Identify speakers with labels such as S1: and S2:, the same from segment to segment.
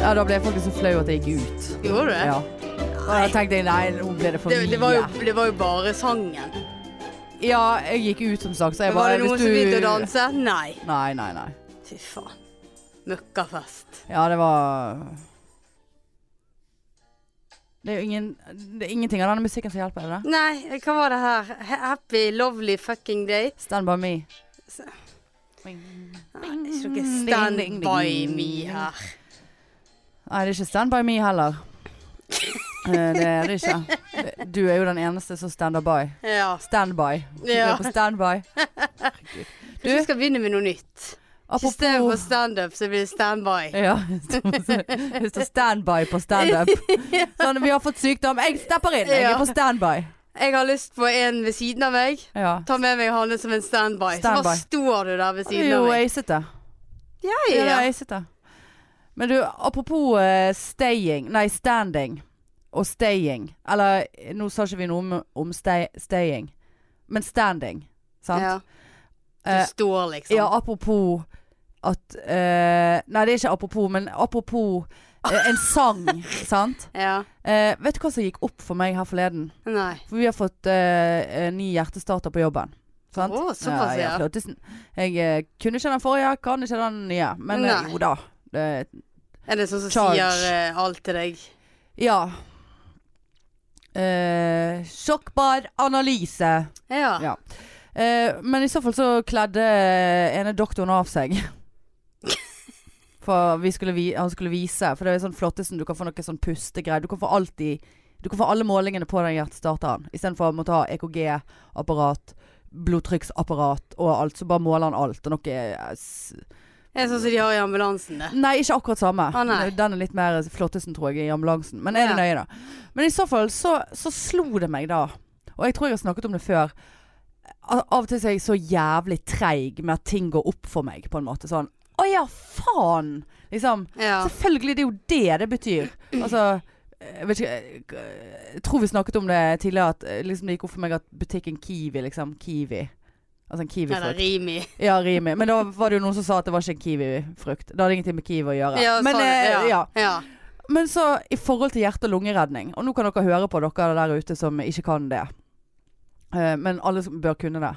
S1: Ja, da ble jeg faktisk så flau at jeg gikk ut.
S2: Gjorde du det?
S1: Ja. Og da tenkte jeg nei, nå ble det for
S2: Det,
S1: mye.
S2: det, var jo, det var jo bare sangen.
S1: Ja, jeg gikk ut som sagt, så jeg
S2: var
S1: bare
S2: det noen
S1: hvis
S2: som
S1: du-
S2: begynte å danse? Nei.
S1: Nei, nei, nei.
S2: Fy faen. Møkkafest.
S1: Ja, det var Det er jo ingen, det er ingenting av denne musikken som hjelper, er det det?
S2: Nei, hva var det her? Ha- Happy lovely fucking day.
S1: Stand by me.
S2: S-
S1: Nei,
S2: Nei, det er ikke
S1: Ding,
S2: stand
S1: ding, ding,
S2: by
S1: ding.
S2: me her.
S1: det er ikke Stand by me heller. Eh, Det er det ikke. Du er jo den eneste som stander by.
S2: Ja.
S1: Standby. Du
S2: Ja.
S1: er på standby. Herregud.
S2: Kanskje vi skal begynne med noe nytt. I stedet for
S1: Apropos
S2: standup, så blir det standby.
S1: ja, det står standby på standup. Sånn, vi har fått sykdom. Jeg stepper inn! Jeg
S2: Ja.
S1: er på standby.
S2: Jeg har lyst på en ved siden av meg.
S1: Ja.
S2: Ta med meg Hanne som en standby. Så
S1: Standby.
S2: bare står du der ved
S1: Du
S2: siden
S1: er
S2: av
S1: jo
S2: meg.
S1: acete.
S2: Ja,
S1: Ja, det
S2: ja.
S1: er acete. Men du, apropos eh, staying Nei, standing og staying. Eller nå sa ikke vi noe om, om stay, staying, men standing. Sant?
S2: ja.
S1: Eh,
S2: Du står liksom.
S1: Ja, apropos at eh, Nei, det er ikke apropos, men apropos eh, en sang, sant?
S2: Ja.
S1: Eh, vet du hva som gikk opp for meg her forleden?
S2: Nei.
S1: For vi har fått eh, eh, ny hjertestarter på jobben. Sant?
S2: Å, såpass, ja.
S1: flottesen. Jeg eh, kunne ikke den forrige, kan ikke den nye. Men eh,
S2: Nei.
S1: jo da. Det,
S2: Er det sånn som
S1: Charge.
S2: sier eh, alt til deg?
S1: ja. Eh, sjokkbar analyse.
S2: Ja.
S1: Ja. Eh, men i så fall så kledde eh, ene doktoren av seg. For vi skulle vi, han skulle vise. For det er sånn flottesen du kan få noe sånn pustegreier. Du kan få alt i Du kan få alle målingene på den hjertestarteren. Istedenfor å måtte ha E EKG-apparat, blodtrykksapparat og alt. Så bare måler han alt. Og noe eh, s-
S2: Er det sånn som de har i ambulansen, det?
S1: Nei, ikke akkurat samme.
S2: Å, nei.
S1: Den er litt mer flottesen, tror jeg, i ambulansen. Men er det nøye, da? Men i så fall så, så slo det meg da, og jeg tror jeg har snakket om det før Al- Av og til så er jeg så jævlig treig med at ting går opp for meg, på en måte. Sånn Å ja, faen! Liksom.
S2: Ja.
S1: Selvfølgelig, det er jo det det betyr. Altså jeg vet ikke eh, Jeg tror vi snakket om det tidligere, at eh, liksom, det gikk opp for meg at butikken Kiwi, liksom Kiwi Altså en
S2: Eller
S1: kiwifrukt.
S2: Rimi.
S1: Ja, Rimi. Men da var det jo noen som sa at det var ikke en kiwifrukt. Det hadde ingenting med kiwi å gjøre.
S2: Ja,
S1: Men,
S2: sånn,
S1: eh, ja.
S2: ja. ja.
S1: Men så i forhold til hjerte- og lungeredning, og nå kan dere høre på dere der ute som ikke kan det. Eh, Men alle som bør kunne det.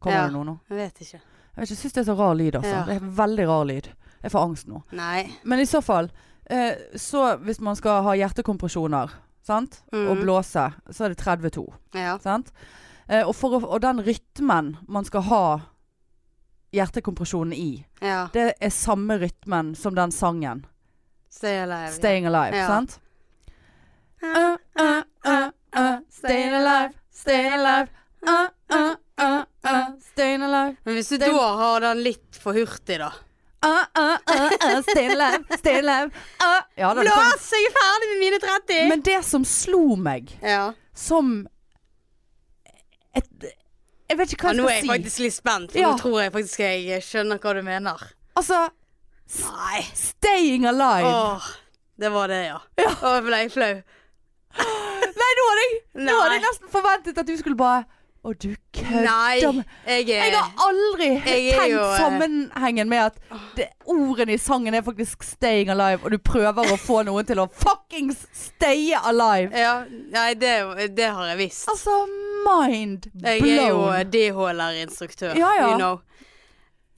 S1: Kommer
S2: Ja.
S1: det noe nå?
S2: Jeg vet ikke.
S1: Jeg vet ikke, jeg syns det er så rar lyd, altså.
S2: Ja.
S1: Det er veldig rar lyd. Jeg får angst nå.
S2: Nei.
S1: Men i så fall, eh, så hvis man skal ha hjertekompresjoner, sant, og
S2: Mhm.
S1: blåse, så er det 32,
S2: Ja.
S1: sant? Eh, og, for, å- og den rytmen man skal ha hjertekompresjonen i,
S2: ja.
S1: det er samme rytmen som den sangen.
S2: Stay alive.
S1: Staying Alive,
S2: Ja.
S1: sant? Ah,
S2: Uh, uh, uh, uh,
S1: staying alive, staying alive. Uh, uh, uh, uh, staying alive.
S2: Men hvis du da har den litt for hurtig, da.
S1: Uh, uh, uh, uh, staying alive, staying alive. Uh. Ja, da, det kan-
S2: Blås! Jeg er ferdig med mine 30!
S1: Men det som slo meg
S2: ja.
S1: som et, Jeg vet ikke
S2: ja,
S1: hva
S2: nå
S1: jeg
S2: er jeg
S1: skal si.
S2: faktisk litt spent, for
S1: Ja.
S2: nå tror jeg faktisk jeg skjønner hva du mener.
S1: Altså,
S2: Nei.
S1: staying alive.
S2: Åh, det var det, ja. Åh, jeg ble flau.
S1: Nei, nå hadde jeg, nå hadde jeg
S2: Nei.
S1: nesten forventet at du skulle bare Å, du kødder
S2: Nei,
S1: med
S2: jeg
S1: Jeg
S2: er
S1: har aldri
S2: Jeg er
S1: tenkt
S2: jo, eh,
S1: sammenhengen med at det, ordene i sangen er faktisk 'staying alive', og du prøver å få noen til å fuckings staye alive.
S2: ja, Nei, det, er jo- det har jeg visst.
S1: Altså, mind
S2: Jeg er jo eh,
S1: blown.
S2: DHLR-instruktør.
S1: Ja, ja.
S2: You know.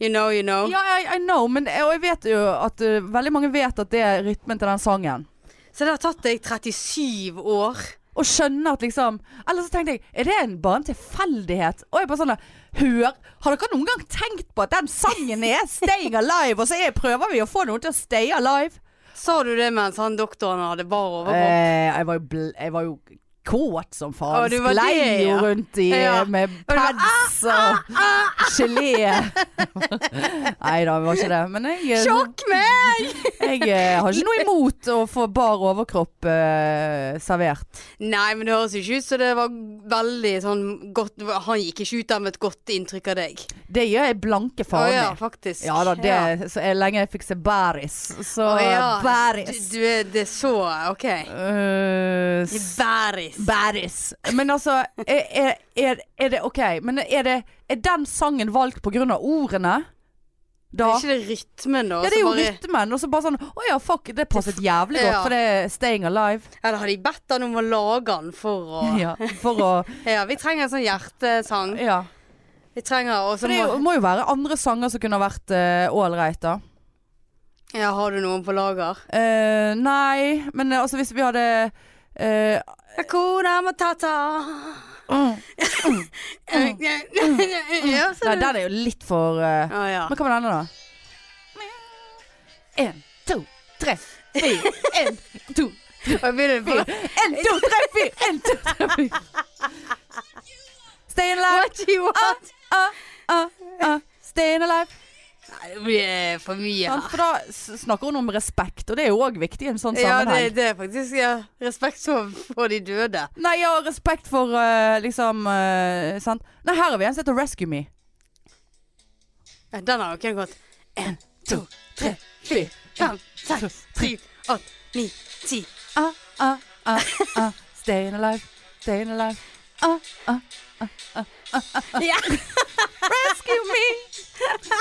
S2: You know, you know.
S1: Ja, I, I know, men eh, og jeg vet jo at eh, veldig mange vet at det er rytmen til den sangen.
S2: Så det har tatt deg 37 år.
S1: Og skjønner at liksom Eller så tenkte jeg, er det en, bare en tilfeldighet? Og jeg bare sånn Hør, har dere noen gang tenkt på at den sangen er 'Staying Alive', og så er, prøver vi å få noen til å staye alive?
S2: Sa du det mens han doktoren hadde bar overkropp?
S1: Eh, jeg, var jo bl jeg var jo kåt som faen.
S2: Å, du var
S1: Sklei
S2: det,
S1: jo
S2: ja.
S1: rundt i, eh,
S2: Ja.
S1: med
S2: du var, ah,
S1: pads og gelé. Nei da, det var ikke det. Men jeg, eh,
S2: Sjokk meg!
S1: jeg eh, har ikke noe imot å få bar overkropp eh, servert.
S2: Nei, men det høres jo ikke ut som det var veldig sånn godt Han gikk ikke ut der med et godt inntrykk av deg.
S1: Det gjør jeg blanke
S2: Å
S1: faen i.
S2: ja,
S1: Ja,
S2: faktisk.
S1: da, det, så er lenge jeg fikk se bæris, så
S2: Å ja,
S1: bæris.
S2: Du, du er det er så OK.
S1: Eh, s-
S2: Bæris.
S1: Bæris. Men altså, er, er, er, er det OK? Men er, det, er den sangen valgt pga. ordene? da.
S2: Er ikke det rytmen, da?
S1: Ja, det er
S2: Så
S1: jo
S2: bare-
S1: rytmen. Og så bare sånn Å ja, fuck, det passet jævlig godt,
S2: Ja.
S1: for det er staying alive.
S2: Eller har de bedt han om å lage den for å
S1: Ja, for å
S2: Ja, vi trenger en sånn hjertesang.
S1: Ja.
S2: Vi trenger og så
S1: For det er jo,
S2: må
S1: må jo være andre sanger som kunne ha vært ålreit, da.
S2: Ja, har du noen på lager?
S1: Eh, nei, men eh, altså hvis vi hadde eh,
S2: Hakuna matata. Mm. Ja,
S1: Nei,
S2: så du.
S1: den er jo litt for eh,
S2: Ja, ja.
S1: Men hva med denne, da? En, to, tre, fire. En, to,
S2: Jeg begynner på
S1: en, to, tre, fire. En, to, tre, fire. Stay alive.
S2: What you want?
S1: Ah, ah, ah. Staying alive.
S2: Nei, det blir for mye
S1: Sant?
S2: her.
S1: For da s- snakker hun om respekt, og det er jo òg viktig i en sånn
S2: Ja,
S1: sammenheng.
S2: det, det er faktisk ja. respekt for, for de døde.
S1: Nei, jeg har respekt for eh, liksom eh, sant? Nei, her er vi en som heter Rescue Me.
S2: Ja, den har jo ikke gått. En, to, tre,
S1: Fy.
S2: fem, seks, syv, åtte, ni, ti.
S1: Ah, ah, ah, ah. Staying alive, staying alive. Ah, ah,
S2: Ja.
S1: rescue me!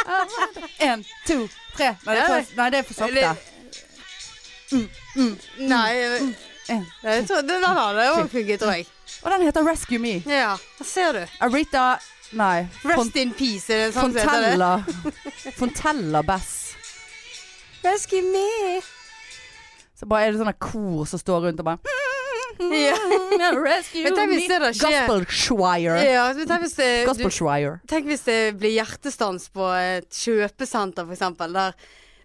S1: Ah, en, to, tre. Nei, det er for, nei, det er for sakte.
S2: Mm, Nei, jeg-
S1: En.
S2: Nei, jeg tror, den hadde jo funket, tror jeg.
S1: Og den heter Rescue Me.
S2: Ja, der ser du.
S1: Arita Nei. Fon
S2: Rest in peace, er det sånn som heter det?
S1: Fontella. Fontella Bass.
S2: Rescue me.
S1: Så bare er det sånne kor som står rundt og bare "Mm,
S2: Ja.
S1: Rescue
S2: Men tenk
S1: me.
S2: hvis det da skjer-
S1: Gospel Shwire.
S2: Ja, men tenk hvis det, du,
S1: Gospel Shwire.
S2: tenk hvis det blir hjertestans på et kjøpesenter, for eksempel, der,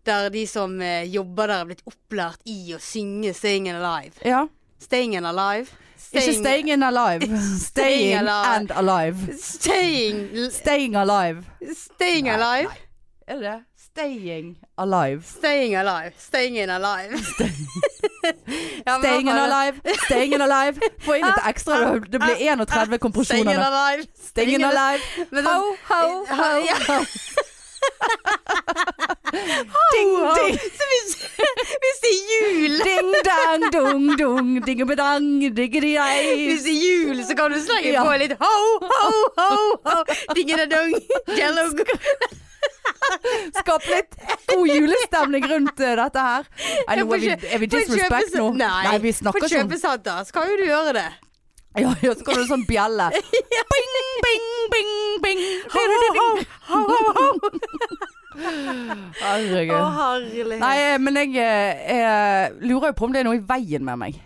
S2: der de som eh, jobber der er blitt opplært i å synge Staying Alive.
S1: Ja.
S2: Staying Alive.
S1: Ikke staying in alive. Staying
S2: alive.
S1: and alive.
S2: Staying,
S1: Staying alive.
S2: staying Alive.
S1: Er det det? Staying alive.
S2: Staying Alive. Staying in Alive. Ja, men
S1: Staying in
S2: hva faen?
S1: alive. Staying in alive. Få inn litt ekstra. da. Det blir 31
S2: ah, Staying in
S1: kompresjoner. nå.
S2: Alive.
S1: Staying in alive.
S2: Men
S1: Ho,
S2: sånn-
S1: ho, ho,
S2: Ja.
S1: ho. Ding,
S2: Wow.
S1: ding,
S2: Så hvis, hvis det er jul
S1: ding, dang, dung, dung, dingebedang,
S2: Hvis
S1: diggedi-ei.
S2: det er jul, så kan du slenge
S1: Ja.
S2: på litt ho, ho, ho, ho. Dingedadong. Jello.
S1: Skap litt god julestemning rundt eh, dette her. Nei, nå er vi, er vi disrespect nå?
S2: Nei,
S1: Nei, vi snakker sånn.
S2: på
S1: ikke om
S2: kjøpesenter så kan jo du gjøre det.
S1: Ja, ja, så kommer det en sånn bjelle. Bing, bing, bing, bing.
S2: Ho, ho, ho, ho, ho. Å,
S1: Herregud.
S2: herlighet.
S1: Nei, men jeg, eh, jeg lurer jo på om det er noe i veien med meg.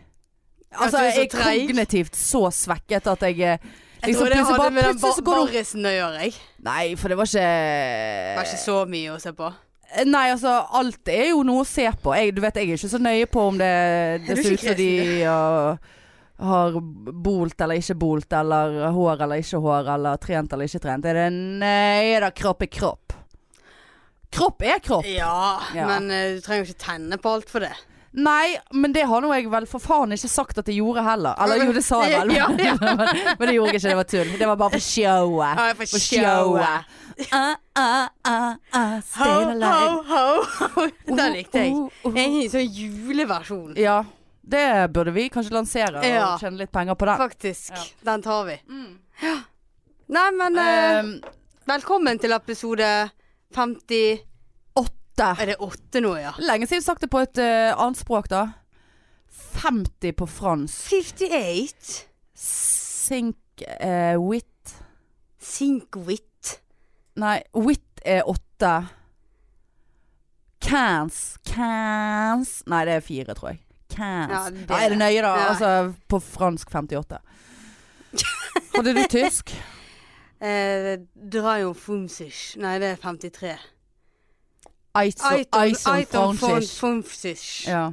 S1: Altså,
S2: du er så
S1: jeg er
S2: treig.
S1: kognitivt så svekket at jeg eh,
S2: jeg tror det
S1: plutselig
S2: hadde
S1: bare-
S2: med den
S1: plutselig så
S2: bar-
S1: går det-
S2: barrisen å gjøre, jeg.
S1: Nei, for det var ikke
S2: Det var ikke så mye å se på.
S1: Nei, altså, alt er jo noe å se på. Jeg, du vet, jeg er ikke så nøye på om det,
S2: Er
S1: det
S2: du
S1: ser
S2: ikke
S1: ut som de ja, har bolt eller ikke bolt, eller hår eller ikke hår, eller trent eller ikke trent. Er det Nei da, kropp er kropp. Kropp er kropp.
S2: Ja,
S1: Ja.
S2: men eh, du trenger jo ikke tenne på alt for det.
S1: Nei, men det har nå jeg vel for faen ikke sagt at jeg gjorde heller. Eller jo, det sa jeg vel.
S2: Ja, ja.
S1: men, men det gjorde jeg ikke, det var tull. Det var bare for showet.
S2: Ja, for showet.
S1: Ah, ah, ah, ah,
S2: Ho,
S1: staying
S2: ho,
S1: alive.
S2: ho, ho. Den likte jeg.
S1: Oh, oh, oh.
S2: En sånn juleversjon.
S1: Ja, det burde vi kanskje lansere
S2: Ja.
S1: og tjene litt penger på den.
S2: Faktisk.
S1: Ja. Mm.
S2: Den tar vi. Ja. Nei, men eh,
S1: Ehm,
S2: velkommen til episode 50
S1: Åtte.
S2: Er det åtte nå, ja?
S1: Lenge siden sagt det på et eh, annet språk, da. 50 på fransk.
S2: 58.
S1: Sink eh, wit
S2: Sinkwit.
S1: Nei, wit er åtte. Cans. Cans Nei, det er fire, tror jeg. Cans. Ja,
S2: Ja, det-
S1: er det nøye, da?
S2: Ja.
S1: Altså på fransk 58. Hadde du tysk?
S2: Eh, Drajon Fumsish. Nei, det er 53.
S1: Eiton Eiton fransk.
S2: Fumsish.
S1: Ja.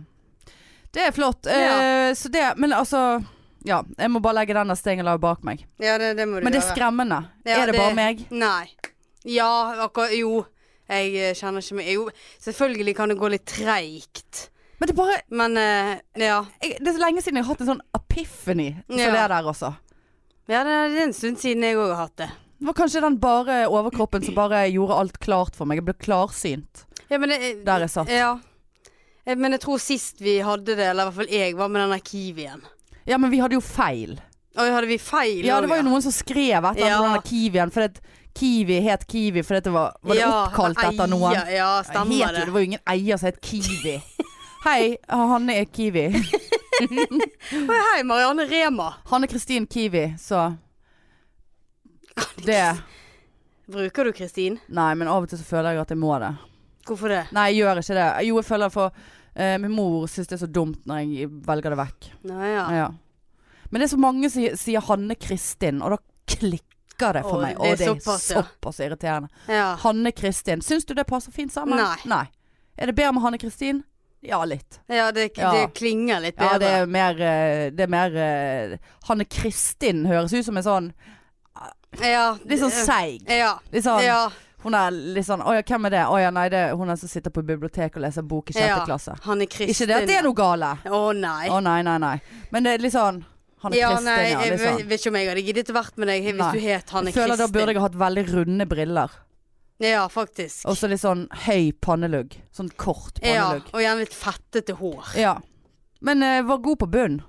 S1: Det er flott.
S2: Ja.
S1: Eh, så det, men altså Ja, jeg må bare legge denne stengen la bak meg.
S2: Ja, det, det må du
S1: Men det er
S2: gjøre.
S1: skremmende.
S2: Ja,
S1: er det,
S2: det-
S1: bare meg?
S2: Nei. Ja, akkurat Jo. Jeg eh, kjenner ikke meg Jo, selvfølgelig kan det gå litt treigt.
S1: Men det er bare
S2: Men eh, ja.
S1: jeg, Det er så lenge siden jeg har hatt en sånn epiphany for
S2: Ja.
S1: det der, altså.
S2: ja. Det er en stund siden jeg òg har hatt det.
S1: Det var kanskje den bare overkroppen som bare gjorde alt klart for meg. Jeg ble klarsynt
S2: Ja, men det,
S1: der jeg satt.
S2: Ja. Eh, Men jeg tror sist vi hadde det, eller i hvert fall jeg, var med den der kiwien.
S1: Ja, men vi hadde jo feil.
S2: Og hadde vi feil?
S1: Ja,
S2: også,
S1: det var jo noen som skrev etter
S2: Ja.
S1: den der kiwien, for det, Kiwi het Kiwi fordi det var, var det
S2: Ja,
S1: oppkalt etter noen.
S2: Ja, ja stemmer
S1: het jo, det
S2: det.
S1: var jo ingen eier som het Kiwi. Hei, Hanne er Kiwi.
S2: Oi, Hei, Marianne Rema.
S1: Hanne Kristin Kiwi, så det
S2: Bruker du Kristin?
S1: Nei, men av og til så føler jeg at jeg må det.
S2: Hvorfor det?
S1: Nei, jeg gjør ikke det. Jo, jeg føler for eh, Min mor syns det er så dumt når jeg velger det vekk.
S2: Nå, ja.
S1: Ja. Men det er så mange som sier Hanne Kristin, og da klikker det for
S2: Å,
S1: meg.
S2: det er
S1: Og det er
S2: såpass,
S1: såpass,
S2: ja.
S1: irriterende.
S2: ja.
S1: Hanne Kristin. Syns du det passer fint sammen?
S2: Nei.
S1: Er det bedre med Hanne Kristin? Ja, litt.
S2: ja, det,
S1: Ja.
S2: det klinger litt
S1: Ja, det
S2: bedre.
S1: er mer, eh, det er mer eh, Hanne Kristin høres ut som en sånn
S2: Ja,
S1: Litt sånn seig.
S2: Ja.
S1: Litt sånn,
S2: ja.
S1: Hun er litt sånn Å ja, hvem er det? Å ja, nei, det er hun er som sitter på biblioteket og leser bok i sjette
S2: Ja.
S1: klasse.
S2: Han er Kristin.
S1: Ikke det at det er noe gale.
S2: ja. Å nei.
S1: Å nei, nei, nei. Men det er litt sånn Hanne
S2: ja,
S1: Kristin,
S2: nei,
S1: ja.
S2: jeg
S1: Litt
S2: vet,
S1: sånn.
S2: vet ikke om jeg hadde giddet å vært med deg hvis
S1: Nei.
S2: du het Hanne
S1: Jeg føler da burde
S2: Kristin.
S1: jeg hatt veldig runde briller.
S2: Ja, faktisk.
S1: Og så litt sånn høy pannelugg. Sånn kort
S2: Ja,
S1: pannelugg.
S2: og gjerne litt fettete hår.
S1: Ja. Men eh, var god på bunn.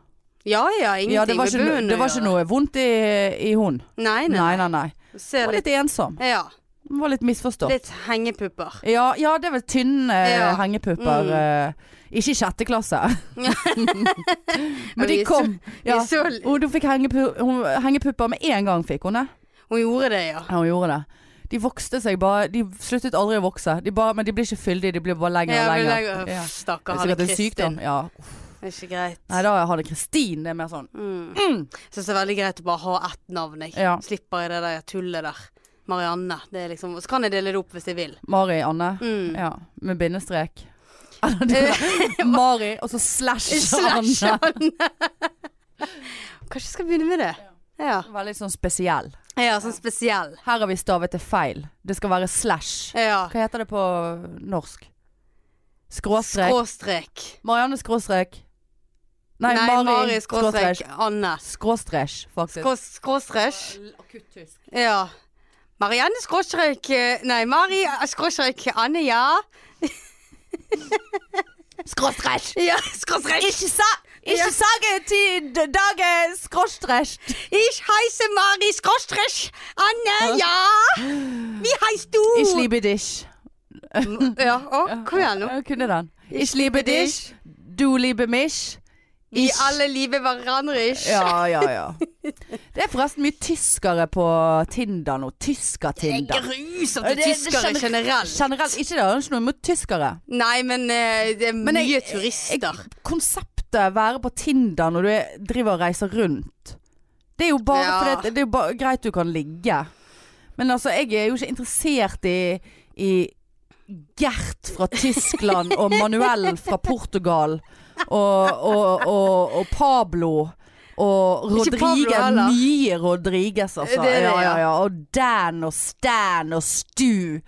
S2: Ja ja, ingenting
S1: Ja, det var
S2: med
S1: ikke, no-
S2: bunnen
S1: det
S2: å
S1: var ikke
S2: gjøre.
S1: noe vondt i, i hun.
S2: Nei, nei.
S1: Nei, nei, nei.
S2: Se
S1: Var
S2: litt
S1: litt ensom.
S2: Ja.
S1: Var litt misforstått.
S2: Litt hengepupper.
S1: Ja, ja, det er vel tynne eh,
S2: Ja. Mm.
S1: hengepupper. eh, ikke i sjette klasse. Men de
S2: Vi så-
S1: kom. Ja.
S2: Vi så
S1: Og du fikk hengepu- hun- hengepupper med en gang, fikk hun det?
S2: Hun gjorde det, ja.
S1: Ja, hun gjorde det. De vokste seg bare De sluttet aldri å vokse. De bare, men de blir ikke fyldige, de blir bare lenger og
S2: Ja, men
S1: lenger.
S2: jeg-
S1: Ja.
S2: Uff,
S1: Det
S2: Stakkar
S1: er
S2: Hanne
S1: sikkert en sykdom.
S2: Kristin.
S1: Ja.
S2: Det er ikke greit.
S1: Nei, da har det Kristin. Det er mer sånn
S2: Mm. Syns det er veldig greit å bare ha ett navn, jeg.
S1: Ja.
S2: Slipper jeg det der tullet der. Marianne. Det er liksom Og så kan jeg dele det opp hvis jeg vil.
S1: Mari Anne.
S2: Mm.
S1: Ja, med bindestrek. Eller det der. Mari, og så slash
S2: Slash
S1: Anne.
S2: Anne. Kanskje jeg skal begynne med det. Ja.
S1: Veldig sånn spesiell.
S2: ja sånn spesiell.
S1: Her har vi stavet det feil. Det skal være slash.
S2: Ja.
S1: Hva heter det på norsk? Skråstrek.
S2: Skråstrek.
S1: Marianne skråstrek. Nei,
S2: Nei,
S1: Mari skråstrek.
S2: Anne.
S1: Skråstrek, faktisk.
S2: Skrå- Skråstrek.
S1: Akuttysk.
S2: Ja. Marianne skråstrek eh, Nei, Mari skråstrek Anne, ja.
S1: Skråstrek!
S2: Ja, skråstrek.
S1: Ikke sa... Ikke sage til d- dagen skråstrek.
S2: Ich heiße Mari skråstrek Anne, ja. Wie heißt du?
S1: Ich liebe dich.
S2: Ja, å, kom igjen nå.
S1: Jeg kunne den. Ich liebe
S2: liebe
S1: dich. Du liebe mich.
S2: Vi
S1: Ich-
S2: alle liker hverandre, ish.
S1: Ja, ja, ja. Det er forresten mye tyskere på Tinder nå. Tysker-Tinder.
S2: Grusomt til
S1: Det- det
S2: tyskere
S1: gener-
S2: generelt.
S1: Generelt. Ikke det, det er ikke noe imot tyskere.
S2: Nei, men eh, det er
S1: Men jeg-
S2: mye turister.
S1: Jeg, konseptet være på Tinder når du er, driver og reiser rundt, det er jo bare
S2: Ja.
S1: fordi at det er jo bare, greit du kan ligge. Men altså, jeg er jo ikke interessert i, i Gert fra Tyskland og Manuel fra Portugal og, og, og, og Pablo. Og
S2: Ikke Pablo
S1: Rodrige,
S2: heller.
S1: mye Rodriges, altså.
S2: Det er det,
S1: ja, ja,
S2: ja.
S1: ja. Og Dan og Stan og Stu.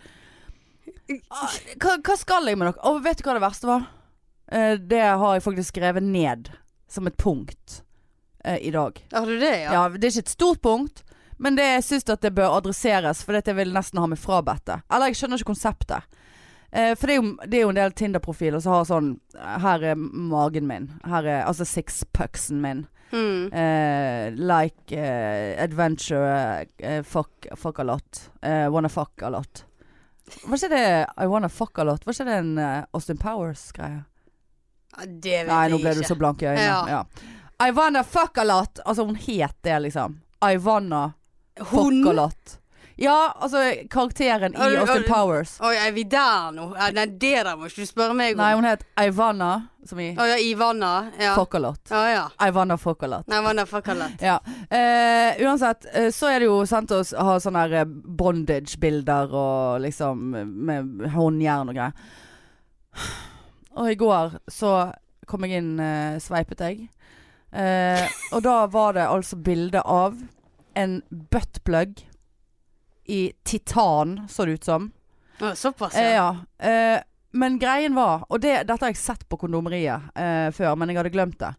S1: Ah, Hva, hva skal jeg med dere? Og vet du hva det verste var? Eh, Det har jeg faktisk skrevet ned som et punkt eh, i dag.
S2: Har du det, ja?
S1: Ja, Det er ikke et stort punkt, men det jeg syns at det bør adresseres. For dette vil jeg nesten ha meg frabedt det. Eller jeg skjønner ikke konseptet. Eh, for det er, jo, det er jo en del Tinder-profiler som har sånn Her er magen min. Her er altså sixpucksen min.
S2: Mm.
S1: Eh, like eh, adventure eh, fuck, fuck a lot. Eh, wanna fuck a lot. Var ikke det I wanna fuck a lot? Var ikke det en eh, Austin Powers-greie?
S2: Ja, Det vet
S1: Nei, nå
S2: jeg
S1: ble du
S2: ikke.
S1: så blank i øynene. Ja.
S2: Ja.
S1: I wanna fuck a lot. Altså, hun het det, liksom. I wanna
S2: Hun?
S1: fuck a lot. Ja, altså karakteren
S2: Har
S1: i
S2: du- har
S1: Austin
S2: du-
S1: Powers.
S2: Oi, er vi der nå? Ja, Nei, det der må ikke du spørre meg om.
S1: Nei, hun het Ivana, som i
S2: Å ja, Ivana. Ja.
S1: fuck a lot.
S2: Å ja.
S1: I wanna fuck a lot.
S2: Nei, hva er det for kallet?
S1: Ja. Eh, uansett, eh, så er det jo sant å s- ha sånne her, eh, bondage-bilder og liksom eh, med håndjern og greier. Og i går så kom jeg inn, eh, sveipet jeg. Eh, og da var det altså bilde av en buttplug i titan, så det ut som.
S2: Å, såpass,
S1: Eh,
S2: ja.
S1: ja. Eh, men greien var, og det, dette har jeg sett på kondomeriet eh, før, men jeg hadde glemt det.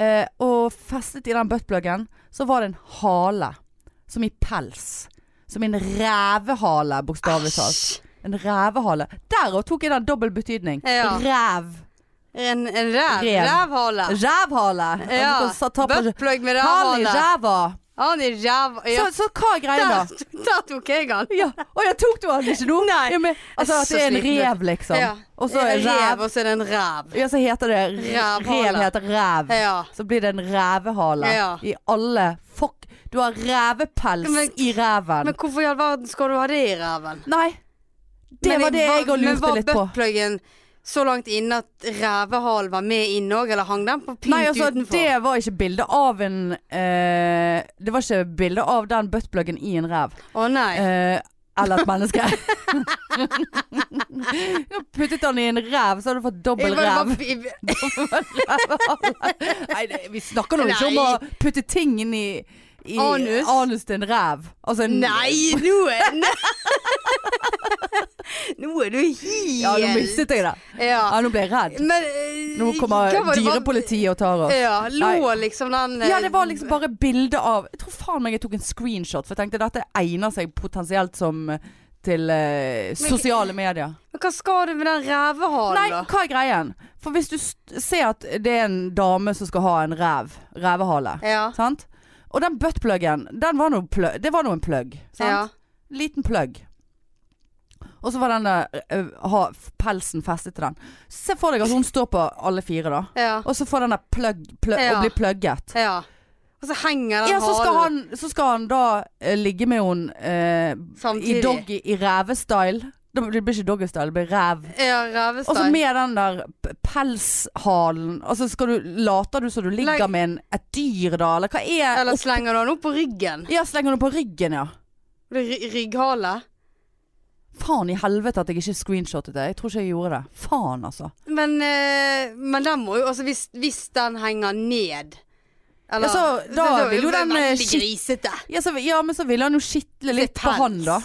S1: Eh, og festet i den buttpluggen, så var det en hale. Som i pels. Som i en revehale, bokstavelig talt.
S2: Æsj.
S1: En revehale. Der og tok jeg den dobbel betydning.
S2: Ja.
S1: Rev.
S2: En, en ræv.
S1: Rev.
S2: Rævhale.
S1: Rævhale.
S2: Ja.
S1: Altså, ta på-
S2: Buttplug med
S1: Hale i
S2: rævhale.
S1: ræva.
S2: Han er jævla
S1: Så,
S2: ja.
S1: så hva er greia da?
S2: der, der tok jeg han.
S1: Ja. Å ja, tok du han ikke nå?
S2: Nei.
S1: Ja, men, altså at
S2: så
S1: det er en
S2: sliten ut.
S1: rev, liksom.
S2: Ja.
S1: Og så er
S2: rev,
S1: rev
S2: og så er det en ræv.
S1: Ja, så heter det
S2: Rævhale.
S1: Rev heter rev.
S2: Ja.
S1: Så blir det en rævehale
S2: Ja.
S1: i alle Fuck! Du har revepels
S2: Men-
S1: i reven.
S2: Men hvorfor i all verden skal du ha det i ræven?
S1: Nei. Det
S2: Men
S1: var det jeg òg lurte litt
S2: Men
S1: på.
S2: var buttpluggen så langt inne at rævehalen var med inne òg, eller hang den på pynt
S1: Nei, altså,
S2: utenfor?
S1: det var ikke bilde av en eh, Det var ikke bilde av den buttpluggen i en rev.
S2: Å nei.
S1: Eh, eller et menneske. Du har puttet den i en rev, så har du fått dobbel
S2: Jeg bare-
S1: rev.
S2: bare- jeg-
S1: Nei, det, vi snakker nå ikke om å
S2: Nei.
S1: putte ting inn i, i
S2: Anus.
S1: til en rev. Altså en
S2: Nei, nå er nei. Nå er du helt
S1: Ja, nå mistet jeg det.
S2: Ja.
S1: Ja, nå ble jeg redd.
S2: Men eh,
S1: Nå kommer
S2: hva var det-
S1: dyrepolitiet og tar oss.
S2: Ja, lå liksom den eh,
S1: Ja, det var liksom bare bilde av Jeg tror faen meg jeg tok en screenshot, for jeg tenkte dette egner seg potensielt som eh, til eh, sosiale medier.
S2: Men hva skal du med den
S1: Nei,
S2: revehalen, da?
S1: hva er greien? For hvis du st- ser at det er en dame som skal ha en rev, revehale,
S2: Ja.
S1: sant? Og den buttpluggen, den var nå plø- det var nå en plugg, sant?
S2: ja.
S1: Liten plugg. Og så var den der eh, ha, pelsen festet til den. Se for deg at hun står på alle fire, da.
S2: Ja.
S1: Og så får den der plugg, plugg
S2: Ja.
S1: og blir plugget.
S2: ja. Og så henger den
S1: Ja, så skal
S2: halen
S1: han, så skal han da eh, ligge med henne eh,
S2: samtidig.
S1: i doggy, i rævestyle. Det blir ikke doggystyle, det blir ræv.
S2: Ja,
S1: Og så
S2: revestein.
S1: med den der p- pelshalen Altså skal du, later du som du ligger
S2: Legg-
S1: med en, et dyr da, eller hva er
S2: Eller slenger du den opp på ryggen?
S1: Ja, slenger du på ryggen, ja.
S2: Det er ry- Rygghale?
S1: Faen i helvete at jeg ikke screenshotet det. Jeg tror ikke jeg gjorde det. Faen, altså.
S2: Men, eh, men den må jo Altså, hvis, hvis den henger ned eller,
S1: Ja, så da
S2: er
S1: vil jo
S2: det
S1: den, eh,
S2: veldig
S1: skitt-
S2: grisete.
S1: Ja, så, ja men så ville han jo skitle litt på
S2: pels.
S1: han, da.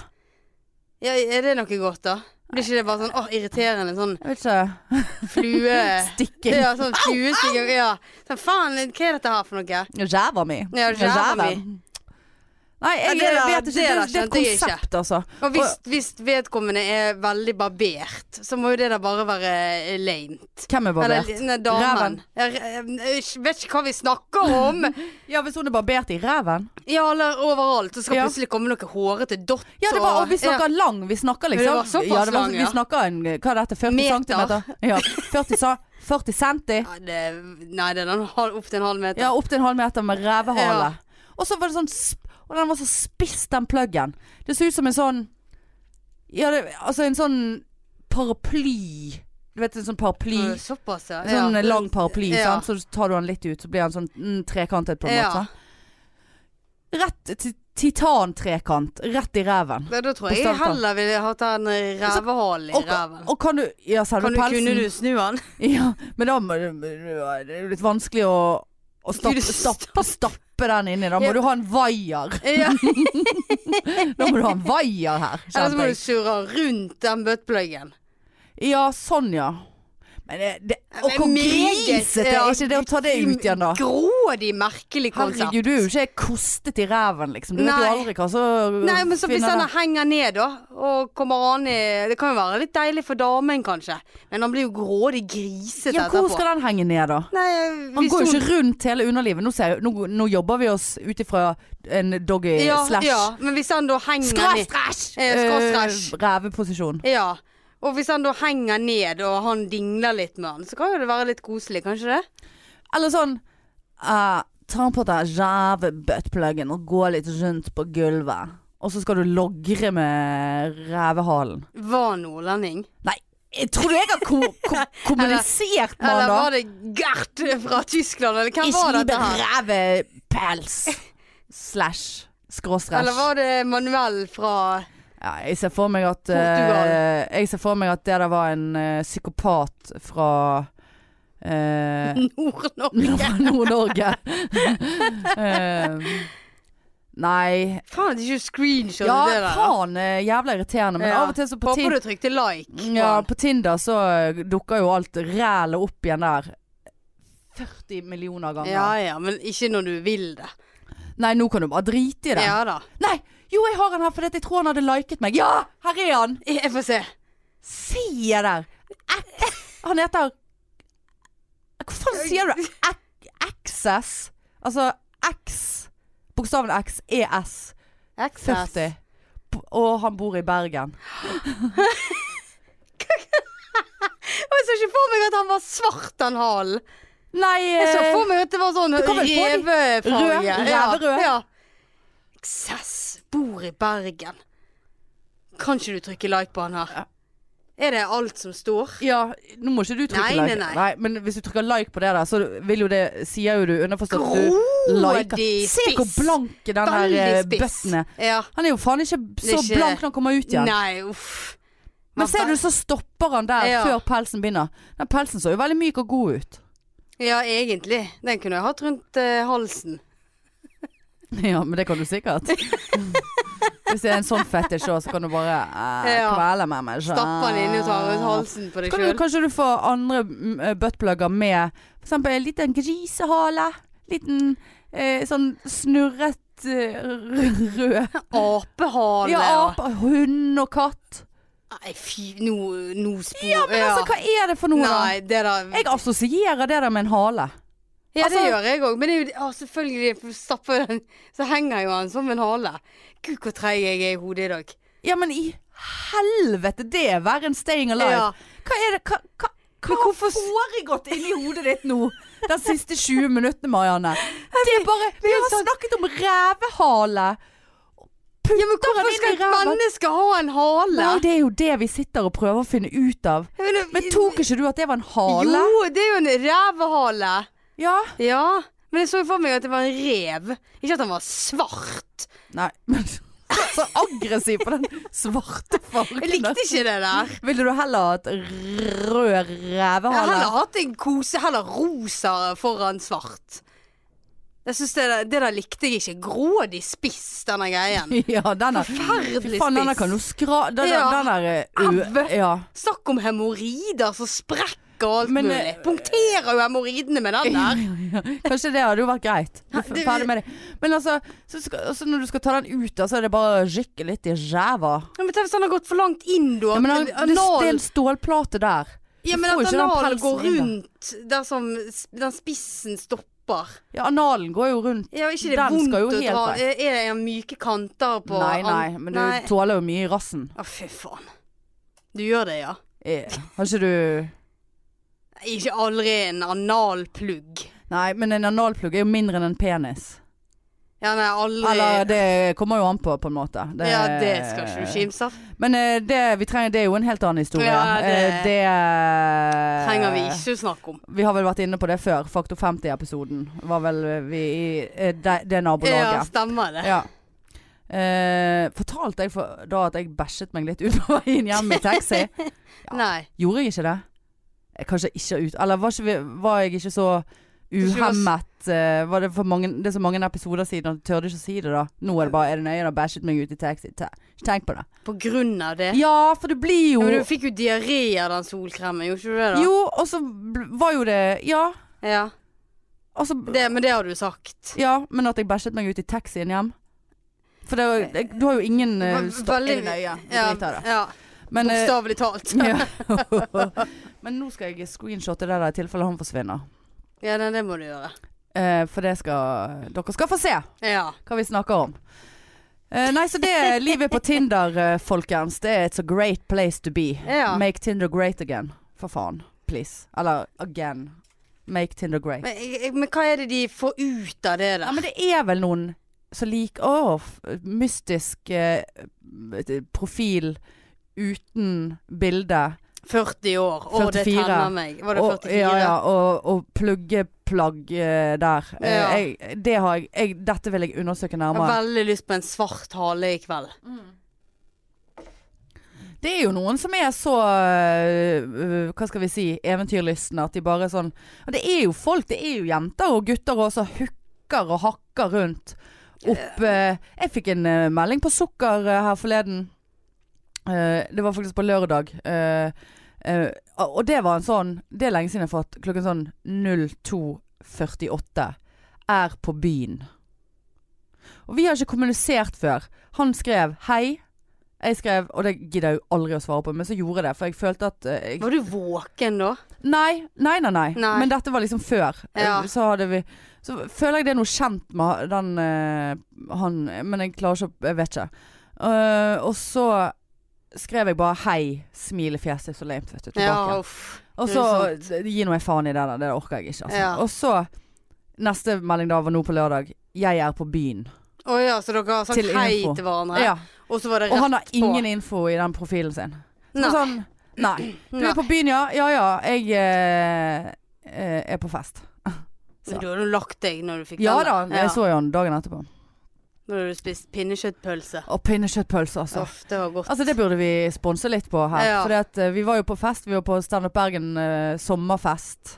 S2: Ja, er det noe godt, da? Blir ikke det bare sånn åh, irriterende? Sånn
S1: Jeg vet ikke.
S2: flue...
S1: Stikking.
S2: ja, sånn fluestikker. Ja. Sånn, faen, hva er dette her for noe?
S1: Ræva mi.
S2: Ja, ræva mi.
S1: Nei, jeg,
S2: Ja, det der-
S1: vet ikke. Det,
S2: det der
S1: det er et
S2: skjønte jeg ikke.
S1: konsept, altså.
S2: Og hvis, hvis vedkommende er veldig barbert, så må jo det da bare være eh, lame.
S1: Hvem er barbert?
S2: Eller nei, damen. Jeg, jeg vet ikke hva vi snakker om.
S1: Ja, hvis hun er barbert i ræven.
S2: Ja, eller overalt. Så skal
S1: Ja.
S2: plutselig komme noe hårete dott.
S1: Ja, det var, og vi
S2: ja.
S1: snakker lang. Vi snakker liksom
S2: Det var såpass
S1: ja, det var,
S2: lang,
S1: Vi
S2: ja.
S1: snakker en Hva er dette? 40
S2: Meter.
S1: centimeter? Ja. 40, sa- 40 centi.
S2: Ja, det, nei, det er den hal- opp til en halv meter.
S1: Ja, opptil en halv meter med revehale.
S2: Ja.
S1: Og så var det sånn sp- Og den var så spiss, den pluggen. Det så ut som en sånn Ja, det, altså en sånn paraply. Du vet en sånn paraply.
S2: Mm, Såpass, ja.
S1: En sånn
S2: ja.
S1: lang paraply,
S2: Ja.
S1: sant? så tar du den litt ut, så blir den sånn mm, trekantet på en
S2: Ja.
S1: måte. Rett til titantrekant, rett i reven.
S2: Ja, da tror
S1: På
S2: jeg jeg
S1: starten.
S2: heller ville hatt den revehalen i
S1: Og,
S2: reven.
S1: og kan du Ja, selve
S2: Kan du,
S1: pelsen.
S2: kunne du snu den?
S1: Ja, men da må du Det er jo litt vanskelig å, å stappe,
S2: Gud,
S1: stappe, stappe den inni. Da må
S2: Ja.
S1: du ha en vaier.
S2: Ja.
S1: Da må du ha en vaier her,
S2: Eller så
S1: kjente
S2: må du
S1: jeg.
S2: surre rundt den buttpluggen.
S1: Ja, sånn ja. Men det, det, og hvor
S2: Men meget, eh,
S1: grisete er
S2: ja,
S1: ikke det å ta det ut igjen, da?
S2: Grådig merkelig konsept.
S1: Herregud, du er jo ikke kostet i ræven, liksom. Du vet jo
S2: Nei.
S1: aldri hva så
S2: Nei, men så Hvis
S1: finner
S2: den
S1: deg.
S2: henger ned, da, og kommer an i Det kan jo være litt deilig for damen, kanskje, men han blir jo grådig grisete
S1: Ja, hvor
S2: etterpå.
S1: skal den henge ned, da?
S2: Nei,
S1: Han
S2: hvis
S1: går jo
S2: hun-
S1: ikke rundt hele underlivet. Nå, ser jeg, nå, nå jobber vi oss ut ifra en doggy
S2: ja,
S1: slash
S2: ja, men hvis han da henger ned
S1: Skræsj!
S2: Eh, skråstræsj.
S1: Reveposisjon.
S2: Ja, og hvis han da henger ned, og han dingler litt med han, så kan jo det være litt koselig, kanskje det?
S1: Eller sånn eh, Ta på deg rævebuttpluggen og gå litt rundt på gulvet. Og så skal du logre med rævehalen.
S2: Var nordlending?
S1: Nei, jeg tror du jeg har ko ko kommunisert med
S2: Eller
S1: han da?
S2: var det Gert fra Tyskland, eller hvem
S1: Ikke
S2: var
S1: gi
S2: dette
S1: meg
S2: her?
S1: rævepels. Slash. Skråstræsj.
S2: Eller var det Manuel fra
S1: Ja, jeg ser for meg at eh,
S2: Portugal.
S1: Jeg ser for meg at det der var en eh, psykopat fra eh,
S2: Nord-Norge?
S1: Nord-Norge. Eh, nei
S2: Faen at ikke du screenshotet
S1: Ja,
S2: det der. da.
S1: faen. eh, Jævla irriterende. Men
S2: Ja.
S1: av og til så på,
S2: Håper
S1: Tin
S2: du trykte like. på
S1: ja,
S2: den.
S1: på Tinder så eh, dukker jo alt rælet opp igjen der. 40 millioner ganger.
S2: ja ja, men ikke når du vil det.
S1: Nei, nå kan du bare drite i det.
S2: Ja da.
S1: Nei! Jo, jeg har han her fordi at jeg tror han hadde liket meg. Ja! Her er han!
S2: Jeg får se.
S1: Se der! Ak- Han heter Hva faen sier du? Ak- Access? Altså X bokstaven X er S40.
S2: XS.
S1: P- Og han bor i Bergen.
S2: Jeg så ikke for meg at han var svart, den halen.
S1: Nei
S2: Jeg så
S1: eh,
S2: for meg at det var sånn
S1: kan vel få de-
S2: revefarge.
S1: rød,
S2: Ja,
S1: reverød.
S2: Ja. Xess bor i Bergen. Kan ikke du trykke like på han
S1: Ja.
S2: her? Er det alt som står?
S1: Ja, nå må ikke du trykke
S2: Nei,
S1: like.
S2: nei, nei.
S1: Men hvis du trykker like på det der, så vil jo det Sier jo du underforstått at du liker
S2: Grådig
S1: Se hvor
S2: spiss.
S1: blank den her
S2: Veldig
S1: eh,
S2: spiss.
S1: bøtten er.
S2: Ja.
S1: Han er jo faen ikke
S2: Det er
S1: så
S2: ikke-
S1: blank når han kommer ut igjen.
S2: Nei, uff.
S1: Men ser du, så stopper han der
S2: Ja.
S1: før pelsen begynner. Den pelsen så jo veldig myk og god ut.
S2: Ja, egentlig. Den kunne jeg hatt rundt eh, halsen.
S1: Ja, men det kan du sikkert. Hvis det er en sånn fetisj òg, så kan du bare eh,
S2: Ja.
S1: kvele med meg. så-
S2: Stappe den inn og ta rundt halsen på deg
S1: Kan du,
S2: sjøl.
S1: kanskje du får andre mm, eh, buttplugger med for eksempel en liten grisehale. Liten eh, sånn snurret eh, r- rød
S2: Apehale.
S1: Ja,
S2: og-
S1: ape, hund og katt.
S2: Nei, fy, nå no, spor.
S1: Ja, men altså, hva er det for noe, da?
S2: Nei, det da
S1: Jeg assosierer det der med en hale.
S2: Ja,
S1: Altså-
S2: det gjør jeg òg. Men det er jo, ja, selvfølgelig, for stapper jeg den, så henger jo han som en hale. Gud, hvor treig jeg er i hodet i dag.
S1: Ja, men i helvete, det er verre enn staying alive.
S2: Ja.
S1: Hva er det Hva, hva, hva har foregått inni hodet ditt nå? De siste 20 minuttene, Marianne. Det er bare Vi har
S2: sånn-
S1: snakket om revehale.
S2: Ja,
S1: han
S2: men hvorfor
S1: inn i
S2: skal et
S1: ræven?
S2: menneske ha en hale?
S1: Nei, det er jo det vi sitter og prøver å finne ut av.
S2: Jeg mener,
S1: Men tok ikke du at det var en hale?
S2: Jo, det er jo en revehale.
S1: Ja.
S2: Ja. Men jeg så jo for meg at det var en rev. Ikke at han var svart.
S1: Nei, men så aggressiv på den svarte
S2: Jeg
S1: fargen.
S2: likte ikke det der.
S1: Ville du heller ha et rød
S2: Jeg har
S1: revehale?
S2: heller hatt en kose, heller rosa foran svart. Jeg synes det, der- det der likte jeg ikke. Grådig spiss, denne greien.
S1: Ja, den er Fy
S2: Forferdelig
S1: faen, den der
S2: spiss.
S1: kan jo skra... Den,
S2: Ja.
S1: den der eh, u-
S2: Au.
S1: Ja.
S2: Snakk om hemoroider som sprekker og alt
S1: Men,
S2: mulig.
S1: eh,
S2: Punkterer jo hemoroidene med den der.
S1: Kanskje det hadde jo vært greit. Du
S2: Ja,
S1: er
S2: det-
S1: ferdig med det. Men altså, så skal, altså når du skal ta den ut, da, så er det bare å rykke litt i ræva.
S2: Ja, men tenk hvis han har gått for langt inn, da.
S1: Ja, men
S2: at
S1: han, det, det er
S2: analen-
S1: en stålplate der.
S2: ja,
S1: du
S2: men
S1: får
S2: at
S1: jo ikke den
S2: analen
S1: pelsen
S2: går
S1: inn, da.
S2: rundt der som s- den spissen stopper.
S1: Ja, analen går jo rundt.
S2: Ja, ikke det
S1: Den
S2: er vondt
S1: skal jo
S2: å
S1: helt
S2: dra
S1: vekk.
S2: Er er det myke kanter på
S1: Nei, nei,
S2: an-
S1: men du
S2: Nei.
S1: tåler jo mye i rassen.
S2: Å, fy faen. Du gjør det, ja?
S1: Eh, Har ikke du
S2: Ikke aldri en analplugg.
S1: Nei, men en analplugg er jo mindre enn en penis.
S2: Ja, nei, aldri
S1: Eller det kommer jo an på, på en måte. Det-
S2: Ja, det skal ikke du kimse av.
S1: Men eh, det vi trenger, det er jo en helt annen historie.
S2: Ja, det-
S1: Eh, det
S2: Trenger vi ikke snakke om.
S1: Vi har vel vært inne på det før. Faktor 50-episoden var vel vi i eh, det, det
S2: Ja,
S1: nabolaget.
S2: stemmer det.
S1: Ja. Eh, fortalte jeg for, da at jeg bæsjet meg litt ut på veien hjem i taxi? Ja.
S2: Nei.
S1: Gjorde jeg ikke det? Eh, Kanskje ikke ut Eller var, ikke, vi- var jeg ikke så uhemmet? eh, var det, for mange, det er så mange episoder siden at jeg tørde ikke å si det da. Nå er det bare Er det nøye? Da bæsjet meg ut i taxi. Ta- Ikke tenk på det.
S2: På grunn av det.
S1: Ja, for det blir
S2: Ja,
S1: jo
S2: men du fikk jo diaré av den solkremen, gjorde ikke du det da?
S1: Jo, og så bl- var jo det Ja.
S2: Ja,
S1: Og så
S2: det, men det har du sagt.
S1: Ja, men at jeg bæsjet meg ut i taxien hjem. For det, var- jeg- du har jo ingen eh,
S2: Ve-
S1: sta-
S2: veldig-
S1: Er det nøye? Du driter
S2: Ja,
S1: i det.
S2: ja
S1: Men, eh,
S2: bokstavelig talt. Ja,
S1: ja. men nå skal jeg screenshotte det der i tilfelle han forsvinner.
S2: nei, det må du gjøre.
S1: Eh, for det skal Dere skal få se
S2: Ja.
S1: hva vi snakker om. Eh, nei, så det er livet på Tinder, eh, folkens. Det er It's a great place to be.
S2: Ja.
S1: Make Tinder great again. For faen. Please. Eller again. Make Tinder great.
S2: Men, jeg- men hva er det de får ut av det
S1: Ja,
S2: da?
S1: men det er vel noen som liker Å, f- mystisk eh, profil uten bilde.
S2: 40 år, og det
S1: 44.
S2: tenner meg. Var det
S1: Og,
S2: 44?
S1: ja, ja, og, og pluggeplagg eh, der. Eh,
S2: Ja.
S1: Jeg, det har jeg, jeg Dette vil jeg undersøke
S2: Jeg har
S1: nærmere.
S2: veldig lyst på en svart hale i kveld.
S1: Det er jo noen som er så eh, Hva skal vi si eventyrlystne at de bare er sånn Og det er jo folk, det er jo jenter og gutter også, som hooker og hakker rundt. Opp eh, Jeg fikk en eh, melding på sukker eh, her forleden. Eh, det var faktisk på lørdag. Eh, eh, og det var en sånn Det er lenge siden jeg har fått. Klokken sånn 02.48. Er på byen. Og vi har ikke kommunisert før. Han skrev 'Hei, Jeg skrev, og det gidder jeg jo aldri å svare på, men så gjorde jeg det. For jeg følte at eh, jeg,
S2: Var du våken da?
S1: nei, nei, nei, nei,
S2: Nei.
S1: Men dette var liksom før.
S2: Ja.
S1: Eh, Så hadde vi Så føler jeg det er noe kjent med den eh, han Men jeg klarer ikke å Jeg vet ikke. Eh, og så skrev jeg bare 'hei, smilefjes'. Det er så lame, vet du. Tilbake.
S2: Ja, uff.
S1: Og
S2: Det
S1: så
S2: er
S1: gi nå jeg faen i det der, det orker jeg ikke. Altså.
S2: Ja.
S1: Og så neste melding da var nå på lørdag. Jeg er på byen.
S2: Å ja, så dere har sagt
S1: Til
S2: hei
S1: info.
S2: til hverandre?
S1: Ja.
S2: Og så var det
S1: Og
S2: rett
S1: han har ingen info i den profilen sin. Så
S2: Nei.
S1: Sånn, nei. Du er
S2: Nei.
S1: på byen, ja? Ja ja, jeg eh, eh, er på fest.
S2: Men du hadde jo lagt deg når du fikk
S1: Ja da,
S2: den.
S1: jeg så jo han dagen etterpå.
S2: Når du hadde spist pinnekjøttpølse.
S1: Og pinnekjøttpølse, altså.
S2: Uff, det var godt.
S1: Altså Det burde vi sponse litt på her.
S2: Ja.
S1: Fordi at eh, Vi var jo på fest. Vi var på Stand Up Bergen eh, sommerfest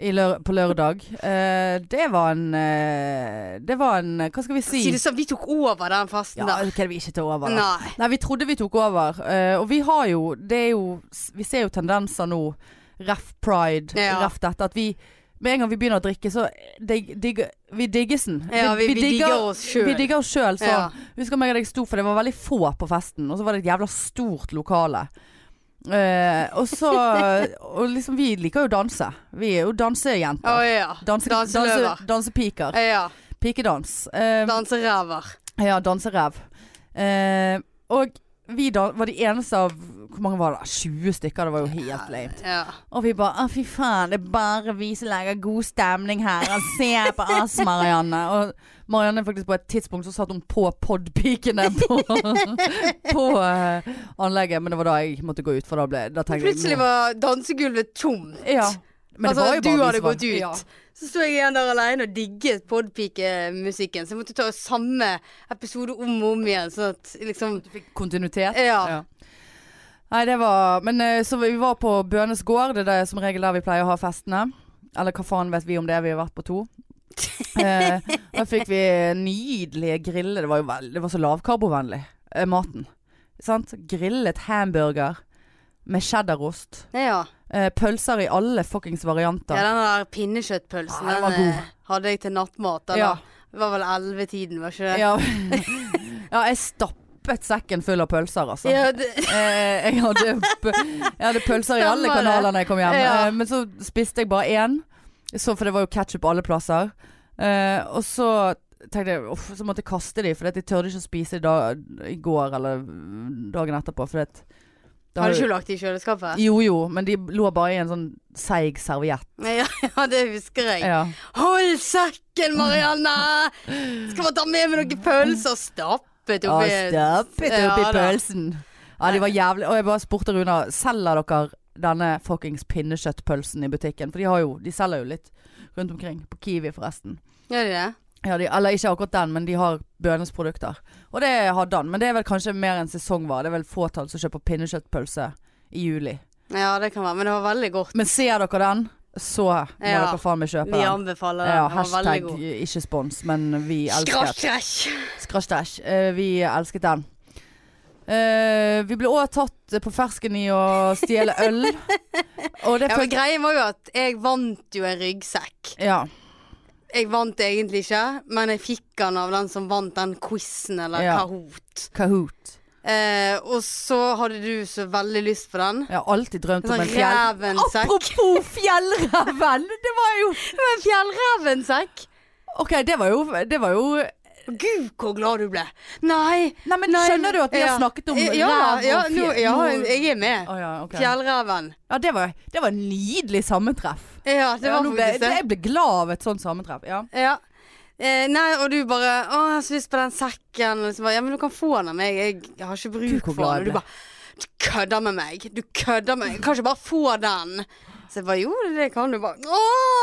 S1: i lø på lørdag. Eh, det var en eh, Det var en Hva skal vi si?
S2: Si det sånn, vi tok over den festen
S1: Ja,
S2: der.
S1: det kan vi ikke ta over. Da.
S2: Nei.
S1: Nei, vi trodde vi tok over. eh, og vi har jo Det er jo Vi ser jo tendenser nå. Ref pride,
S2: Ja.
S1: ref dette. At vi Med en gang vi begynner å drikke, så digg, digger vi diggesen.
S2: Ja, vi, vi digger, oss sjøl.
S1: Vi digger oss sjøl sånn.
S2: Ja.
S1: Husker meg og deg sto, for det var veldig få på festen. Og så var det et jævla stort lokale. Eh, og så Og liksom, vi liker jo å danse. Vi er jo
S2: Å
S1: dansejenter.
S2: ja.
S1: Danse, danse,
S2: Danseløver.
S1: dansepiker.
S2: Ja.
S1: Pikedans. Eh,
S2: Danseræver.
S1: ja, danserev. Eh, og vi da, var de eneste av Hvor mange var det? 20 stykker? Det var jo helt lame.
S2: Ja.
S1: Og vi bare Å, fy faen, det er bare vi som lager god stemning her. Og se på oss, Marianne. Og Marianne faktisk på et tidspunkt så satt hun på podpikene på, på eh, anlegget. Men det var da jeg måtte gå ut, for da ble da
S2: Men
S1: tenkte
S2: Plutselig var dansegulvet tomt.
S1: ja. Men det
S2: altså,
S1: var jo
S2: du
S1: bare vi
S2: hadde
S1: som var-
S2: gått ut.
S1: Ja.
S2: Så sto jeg igjen der alene og digget podpikemusikken. Så jeg måtte ta samme episode om og om igjen. Sånn at liksom
S1: Kontinuitet.
S2: Ja.
S1: Nei, det var Men eh, så vi var på Bønes gård. Det er som regel der vi pleier å ha festene. Eller hva faen vet vi om det? Vi har vært på to. Eh, da fikk vi nydelige griller. Det var jo veld- det var så lavkarbovennlig, eh, maten. Sant? Grillet hamburger med cheddarost.
S2: Ja.
S1: Eh, pølser i alle fuckings
S2: ja
S1: varianter.
S2: den der pinnekjøttpølsen
S1: Ja, den var
S2: den,
S1: god.
S2: eh, hadde jeg til nattmat. Eller?
S1: Ja.
S2: Det var vel ellevetiden, var ikke det?
S1: Ja, ja jeg stappet sekken full av pølser, altså.
S2: Ja, det,
S1: Eh, jeg, hadde, p- jeg hadde pølser i alle
S2: Stemmer det.
S1: kanaler når jeg kom hjem.
S2: Ja.
S1: Eh, men så spiste jeg bare én, så, for det var jo ketsjup alle plasser. Eh, og så tenkte jeg uff, så måtte jeg kaste de, for jeg tørde ikke å spise da, i går eller dagen etterpå. For det, da
S2: hadde ikke du lagt det i kjøleskapet?
S1: jo jo, men de lå bare i en sånn seig serviett.
S2: Ja, ja, det husker jeg.
S1: Ja.
S2: Hold sekken, Marianne! Skal bare ta med meg noen pølser. Stappet
S1: Ja,
S2: oppi
S1: stappet oppi
S2: Ja, da.
S1: pølsen. Ja, de var jævlig Og jeg bare spurte Runa Selger dere denne fuckings pinnekjøttpølsen i butikken? For de har jo De selger jo litt rundt omkring. På Kiwi, forresten.
S2: Gjør de det?
S1: Ja, de, eller ikke akkurat den, men de har Bøhnes produkter. Og det hadde han. Men det er vel kanskje mer en sesongvare. Det er vel fåtall som kjøper pinnekjøttpølse i juli.
S2: Ja, det kan være. Men det var veldig godt.
S1: Men ser dere den, så må
S2: Ja.
S1: dere faen meg kjøpe
S2: Vi
S1: den.
S2: anbefaler det.
S1: Ja,
S2: Den var veldig
S1: hashtag
S2: god.
S1: ikke spons, men vi elsker
S2: Skrakkrasj!
S1: Skrasjdæsj. Eh, vi elsket den. Eh, vi ble også tatt på fersken i å stjele øl. Og det
S2: Ja, men
S1: følte
S2: greien var jo at jeg vant jo en ryggsekk.
S1: Ja.
S2: Jeg vant det egentlig ikke, men jeg fikk den av den som vant den quizen eller
S1: Ja.
S2: Kahoot.
S1: Kahoot.
S2: Eh, og så hadde du så veldig lyst på den.
S1: Jeg har alltid drømt om
S2: En
S1: en
S2: sånn
S1: fjell...
S2: revensekk.
S1: Apropos fjellreven! Det var jo
S2: En fjellrevensekk!
S1: OK, det var jo, det var jo
S2: Gud, hvor glad du ble. Nei.
S1: Nei, men
S2: nei,
S1: skjønner du at vi
S2: ja.
S1: har snakket om
S2: Eh, ja,
S1: rev og
S2: ja,
S1: fjell?
S2: nå- ja, jeg er med.
S1: Å ja, ok.
S2: Fjellreven.
S1: ja, det var, det var en nydelig sammentreff.
S2: Ja, det
S1: Ja,
S2: var
S1: nå ble,
S2: faktisk det.
S1: jeg ble glad av et sånt sammentreff. Ja.
S2: Ja. Eh, nei, og du bare 'Å, jeg har så lyst på den sekken.' Og så bare, ja, men du kan få den av meg. Jeg, jeg har ikke
S1: Gud,
S2: bruk
S1: hvor
S2: for
S1: glad
S2: den. Og
S1: jeg
S2: du
S1: ble.
S2: bare 'Du kødder med meg. Du kødder med meg. Jeg Kan ikke bare få den.' Så jeg bare 'Jo, det kan du bare.' Å,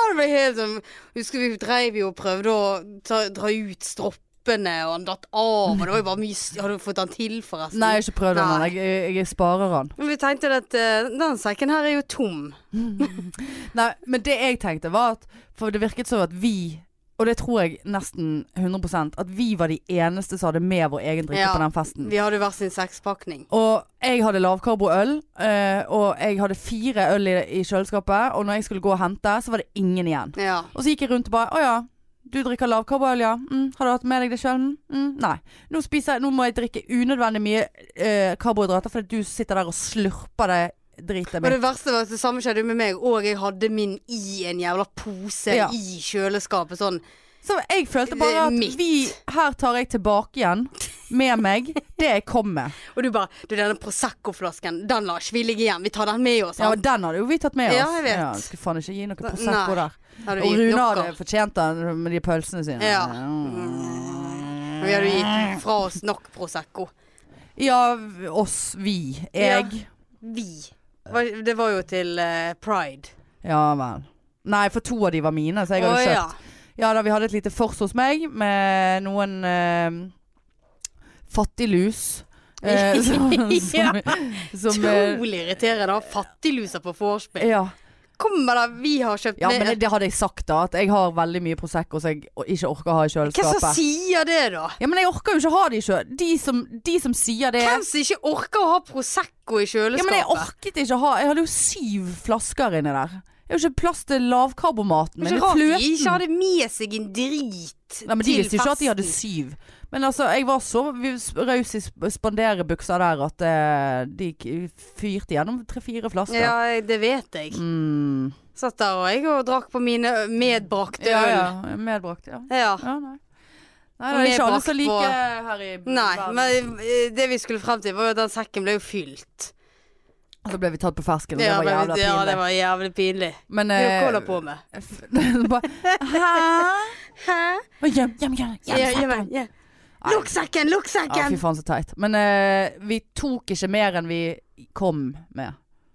S2: det ble helt sånn Husker vi dreiv jo og prøvde å ta, dra ut stroppene, og han datt av, og det var jo bare mye s- Har du fått den til, forresten?
S1: Nei, jeg har ikke prøvd den.
S2: Nei.
S1: men Jeg, jeg sparer den.
S2: Men vi tenkte at eh, den sekken her er jo tom.
S1: Nei, men det jeg tenkte var at For det virket som at vi Og det tror jeg nesten 100% At vi var de eneste som hadde med vår egen drikke
S2: Ja.
S1: på den festen
S2: Vi hadde hver sin sekspakning.
S1: og jeg hadde lavkarboøl, eh, og jeg hadde fire øl i, i kjøleskapet. Og når jeg skulle gå og hente, så var det ingen igjen.
S2: Ja.
S1: Og så gikk jeg rundt og bare Å ja, Du drikker lavkarboolje. Mm. Har du hatt med deg det sjøl? Mm. Nei. Nå, spiser, jeg- nå må jeg drikke unødvendig mye eh, karbohydrater fordi du sitter der og slurper det dritet
S2: Og
S1: mitt.
S2: det verste var at det samme skjedde med meg, og jeg hadde min i en jævla pose
S1: Ja.
S2: i kjøleskapet. Sånn.
S1: Så jeg følte bare at
S2: Mitt.
S1: vi Her tar jeg tilbake igjen med meg det jeg kom med.
S2: Og du bare Du, denne Prosecco-flasken, den lar ikke vi ligge igjen. Vi tar den med oss.
S1: Ja,
S2: sant?»
S1: og den hadde jo vi tatt med oss.
S2: Ja, jeg vet.
S1: skulle faen ikke gi noe
S2: Nei.
S1: Prosecco der.
S2: Hadde vi
S1: Og
S2: gitt
S1: Rune
S2: noe?
S1: hadde fortjent den med de pølsene sine. Mm.
S2: Ja. Vi hadde gitt fra oss nok Prosecco.
S1: Ja, v- oss, vi. Jeg.
S2: Vi. Var- Det var jo til eh, Pride.
S1: Ja. vel. Nei, for to av de var mine, så jeg hadde
S2: Å,
S1: kjøpt.
S2: ja.
S1: Ja da, vi hadde et lite fors hos meg med noen eh, fattiglus. eh, som, som, som, eh,
S2: Utrolig irriterende å ha fattigluser på vorspiel.
S1: ja.
S2: Kommer da, vi har kjøpt
S1: ja,
S2: med
S1: men det, det hadde jeg sagt da. At jeg har veldig mye Prosecco som jeg o- ikke orker å ha i
S2: Hvem som
S1: kjøleskapet.
S2: sier det, da?
S1: Ja, Men jeg orker jo ikke ha de sjøl. De, som- de som sier det
S2: Hvem som ikke orker å ha Prosecco i
S1: Ja, men jeg
S2: kjøleskapet?
S1: orket ikke å ha Jeg hadde jo syv flasker inni der. Jeg har jo ikke plass til lavkarbomaten
S2: det er
S1: min.
S2: ikke rart de
S1: Fløten.
S2: ikke hadde med seg en drit
S1: Nei, men De
S2: til
S1: visste jo ikke at de hadde
S2: festen.
S1: syv. Men altså, jeg var så vi- raus i sp- spanderebuksa der at eh, de k- fyrte gjennom tre-fire flasker.
S2: Ja, det vet jeg.
S1: Mm.
S2: Satt der og jeg og drakk på mine ø, medbrakte
S1: ja,
S2: øl.
S1: ja. Medbrakt, ja.
S2: Ja.
S1: ja nei. Nei,
S2: Og
S1: det er ikke alle
S2: medbrakt
S1: som liker her i
S2: Nei,
S1: verden.
S2: men ø, det vi skulle frem til, var jo at den sekken ble jo fylt.
S1: Så ble vi tatt på fersken, og
S2: Ja,
S1: det var jævla
S2: men-
S1: pinlig.
S2: ja, det var jævlig pinlig.
S1: Men
S2: Det er jo
S1: eh,
S2: Hva holder på med?
S1: bare, Hæ?
S2: Hæ?
S1: Og Gjem, gjem, gjem,
S2: Ja,
S1: gjem
S2: ja,
S1: sekken.
S2: men, ja. Lukk sekken, lukk
S1: Ja, fy
S2: sekken!
S1: faen så teit. Men eh, vi tok ikke mer enn vi kom med.